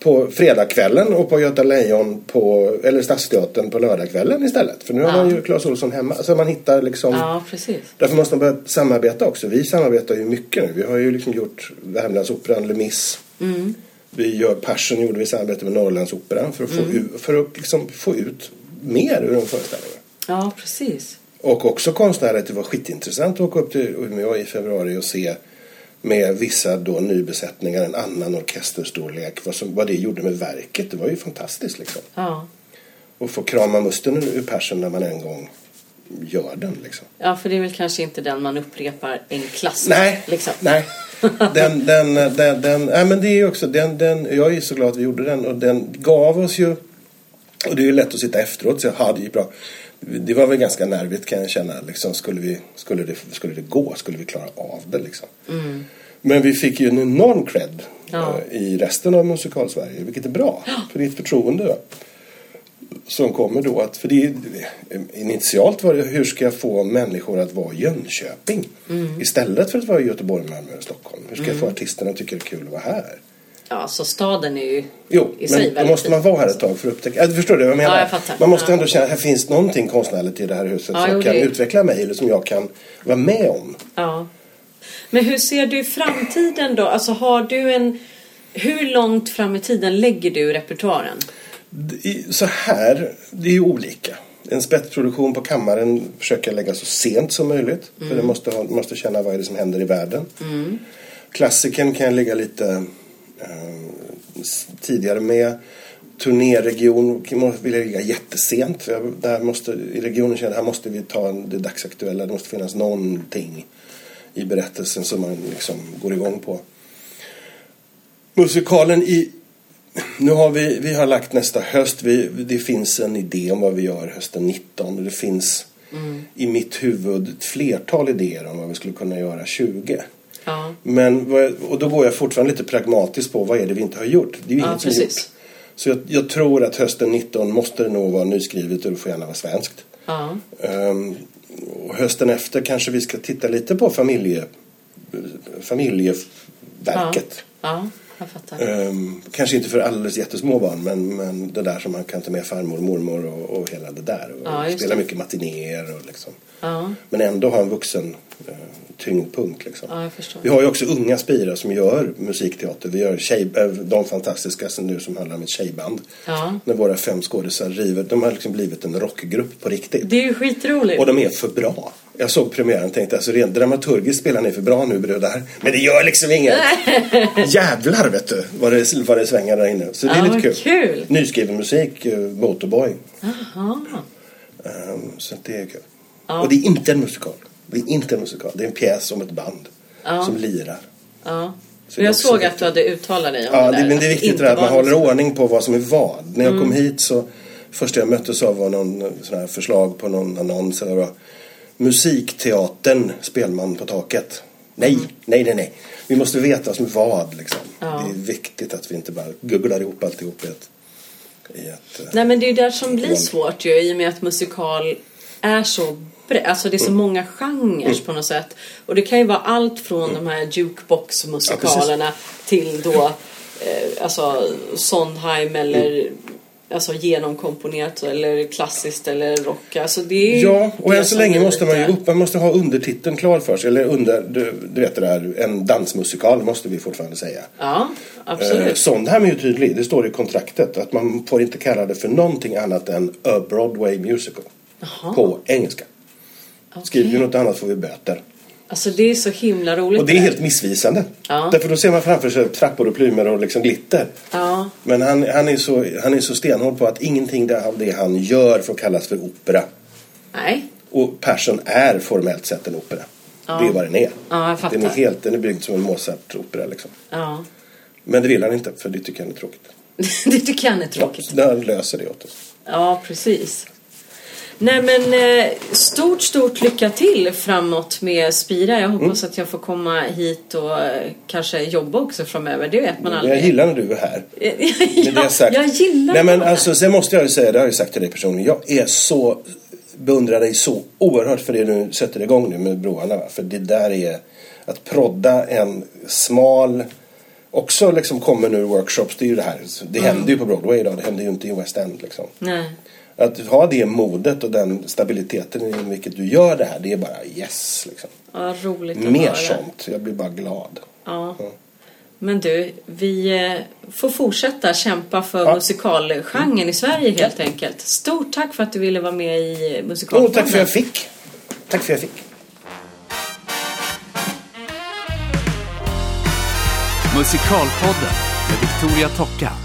Speaker 3: på fredagskvällen och på Göta Lejon på, eller Stadsteatern på lördagskvällen istället. För nu har man ju Clas Ohlson hemma. Så man hittar liksom...
Speaker 2: Ja, precis.
Speaker 3: Därför måste man börja samarbeta också. Vi samarbetar ju mycket nu. Vi har ju liksom gjort Värmlandsoperan, Le Mis.
Speaker 2: Mm.
Speaker 3: Vi gör Passion gjorde vi samarbete med Norrlandsoperan för att,
Speaker 2: Mm.
Speaker 3: få, ut, för att liksom få ut mer ur de föreställningarna.
Speaker 2: Ja, precis.
Speaker 3: Och också konstnärer att det var skitintressant att åka upp till Umeå i februari och se med vissa då nybesättningar, en annan orkesterstorlek, vad, som, vad det gjorde med verket. Det var ju fantastiskt liksom.
Speaker 2: Ja.
Speaker 3: Och få krama musten ur ur persen när man en gång gör den liksom.
Speaker 2: ja, för det är väl kanske inte den man upprepar en klass.
Speaker 3: Nej,
Speaker 2: Liksom.
Speaker 3: nej. Den, den, den, den, nej men det är ju också, den, den, jag är ju så glad att vi gjorde den och den gav oss ju, och det är ju lätt att sitta efteråt så ja det gick bra. Det var väl ganska nervigt kan jag känna, liksom, skulle, vi, skulle, det, skulle det gå, skulle vi klara av det liksom. Men vi fick ju en enorm cred
Speaker 2: Ja.
Speaker 3: eh, i resten av musikalsverige, vilket är bra. För det är ett förtroende då, som kommer då att, för det är, initialt var det hur ska jag få människor att vara i Jönköping istället för att vara i Göteborg, Malmö och Stockholm. Hur ska jag få artisterna att tycka det är kul att vara här?
Speaker 2: Ja, så staden är ju
Speaker 3: Jo,
Speaker 2: i sig
Speaker 3: men då
Speaker 2: väldigt
Speaker 3: måste
Speaker 2: fin.
Speaker 3: man vara här ett tag för att upptäcka. Äh, du förstår du vad jag menar?
Speaker 2: Ja, jag fattar.
Speaker 3: Man måste
Speaker 2: Ja.
Speaker 3: ändå känna att här finns någonting konstnärligt i det här huset
Speaker 2: Ja,
Speaker 3: som
Speaker 2: jo,
Speaker 3: kan
Speaker 2: det-
Speaker 3: utveckla mig eller som jag kan vara med om.
Speaker 2: Ja. Men hur ser du framtiden då? Alltså har du en... Hur långt fram i tiden lägger du repertoaren?
Speaker 3: Det är- Så här, det är ju olika. En spetsproduktion på kammaren försöker jag lägga så sent som möjligt. För det måste, ha- måste känna vad är det som händer i världen. Mm. Klassiken kan jag lägga lite eh, s- tidigare med. Turnéregion kan- må- vill jag ligga jättesent. För jag, där måste, I regionen känner jag här måste vi ta en, det dagsaktuella. Det måste finnas någonting i berättelsen som man liksom går igång på. Musikalen i... Nu har vi, vi har lagt nästa höst. Vi, det finns en idé om vad vi gör hösten 19. Och det finns i mitt huvud ett flertal idéer om vad vi skulle kunna göra 20.
Speaker 2: Ja.
Speaker 3: Men, vad- och då går jag fortfarande lite pragmatiskt på vad är det vi inte har gjort. Det är ju
Speaker 2: Ja,
Speaker 3: inget som är
Speaker 2: precis.
Speaker 3: gjort. Så jag, jag tror att hösten 19 måste det nog vara nyskrivet och det får gärna vara svenskt.
Speaker 2: Ja.
Speaker 3: Ehm, och hösten efter kanske vi ska titta lite på familje, familjeverket.
Speaker 2: Ja. ja, jag fattar.
Speaker 3: Ehm, kanske inte för alldeles jättesmå barn men, men det där som man kan ta med farmor och mormor och, och hela det där. Och
Speaker 2: Ja, just
Speaker 3: spela
Speaker 2: det.
Speaker 3: mycket matinéer och liksom.
Speaker 2: Ja.
Speaker 3: Men ändå ha en vuxen eh, tyngdpunkt liksom.
Speaker 2: Ja, jag förstår.
Speaker 3: Vi har ju också unga spirar som gör musikteater. Vi gör tjej, eh, de fantastiska som nu som handlar om ett tjejband.
Speaker 2: Ja.
Speaker 3: När våra fem skådisar river. De har liksom blivit en rockgrupp på riktigt.
Speaker 2: Det är ju skitroligt.
Speaker 3: Och de är för bra. Jag såg premiären och tänkte alltså rent dramaturgiskt spelar ni för bra nu bröder. Men det gör liksom inget. Jävlar vet du vad det, vad det svänger där inne. Så det är
Speaker 2: Ja,
Speaker 3: lite
Speaker 2: vad
Speaker 3: kul.
Speaker 2: kul.
Speaker 3: Nyskriven musik, eh, Motorboy.
Speaker 2: Aha.
Speaker 3: Ehm, Så att det är kul.
Speaker 2: Ja.
Speaker 3: Och det är inte en musikal. Det är inte en musikal. Det är en pjäs om ett band.
Speaker 2: Ja.
Speaker 3: Som lirar.
Speaker 2: Ja.
Speaker 3: Så
Speaker 2: Men
Speaker 3: det är
Speaker 2: jag
Speaker 3: också
Speaker 2: såg
Speaker 3: viktigt.
Speaker 2: att du hade uttalat dig om
Speaker 3: Ja,
Speaker 2: det
Speaker 3: det,
Speaker 2: där.
Speaker 3: men det är viktigt
Speaker 2: inte liksom- Mm.
Speaker 3: det där att
Speaker 2: var
Speaker 3: man håller
Speaker 2: något-
Speaker 3: ordning på vad som är vad. När jag kom hit så, första jag möttes av var någon eh, sån här förslag på någon annons eller vad. Musikteatern, spelman på taket. Nej, nej, nej, nej. Vi måste veta vad som är vad liksom.
Speaker 2: Mm. Ja.
Speaker 3: Det är viktigt att vi inte bara googlar ihop alltihop i ett... I ett eh,
Speaker 2: Nej men det är ju där som blir svårt ju i och med att musikal är så bre- Alltså det är så
Speaker 3: Mm.
Speaker 2: många genrer på något
Speaker 3: Mm.
Speaker 2: sätt. Och det kan ju vara allt från de här jukebox-musikalerna till då eh, alltså Sondheim eller
Speaker 3: Mm.
Speaker 2: alltså genomkomponerat eller klassiskt eller rock. Alltså det är ju
Speaker 3: Ja, och
Speaker 2: det
Speaker 3: än så
Speaker 2: som
Speaker 3: länge
Speaker 2: är
Speaker 3: måste man ju
Speaker 2: lite-
Speaker 3: upp, man måste ha undertiteln klar för sig. Eller under, du, du vet det där, en dansmusikal måste vi fortfarande säga.
Speaker 2: Ja,
Speaker 3: Eh,
Speaker 2: absolut.
Speaker 3: Sondheim är ju tydlig, det står i kontraktet att man får inte kalla det för någonting annat än A Broadway Musical.
Speaker 2: Jaha.
Speaker 3: På engelska. Skriver vi något annat får vi böter.
Speaker 2: Alltså det är så himla roligt.
Speaker 3: Och det är helt missvisande.
Speaker 2: Ja.
Speaker 3: Därför då ser man framför sig trappor och plymer och liksom glitter.
Speaker 2: Ja.
Speaker 3: Men han, han, är så, han är så stenhård på att ingenting där av det han gör får kallas för opera.
Speaker 2: Nej.
Speaker 3: Och Persson är formellt sett en opera. Det är vad den är.
Speaker 2: Ja, jag fattar.
Speaker 3: den, är helt, den är byggd som en Mozart-opera liksom.
Speaker 2: Ja.
Speaker 3: Men det vill han inte, för det tycker han är tråkigt.
Speaker 2: det tycker han är tråkigt.
Speaker 3: Så han löser det åt oss.
Speaker 2: Ja, precis. Nej men eh, stort, stort lycka till framåt med Spira. Jag
Speaker 3: Mm.
Speaker 2: hoppas att jag får komma hit och eh, kanske jobba också framöver. Det vet man
Speaker 3: Jag
Speaker 2: aldrig.
Speaker 3: gillar när du är här. Men det
Speaker 2: ja,
Speaker 3: har jag sagt.
Speaker 2: jag gillar
Speaker 3: Nej, men
Speaker 2: det.
Speaker 3: alltså, sen måste jag ju säga, det har jag ju sagt till dig personligen. Jag är så, beundrar dig så oerhört för det du sätter igång nu med broarna. Va? För det där är att prodda en smal, också liksom kommer nu workshops. Det är ju det här, det
Speaker 2: Mm.
Speaker 3: händer ju på Broadway idag. Det händer ju inte i West End liksom.
Speaker 2: Nej.
Speaker 3: Att ha det modet och den stabiliteten i vilket du gör det här, det är bara yes liksom.
Speaker 2: Ja, roligt att
Speaker 3: Mer
Speaker 2: höra.
Speaker 3: sånt. Jag blir bara glad.
Speaker 2: Ja. Men du, vi eh, får fortsätta kämpa för
Speaker 3: Ja.
Speaker 2: musikalgenren i Sverige helt enkelt. Stort tack för att du ville vara med i eh,
Speaker 3: Åh,
Speaker 2: Musikalpodden.
Speaker 3: Oh, tack för att jag fick. Tack för att jag fick.
Speaker 1: Musikalpodden med Victoria Tocka.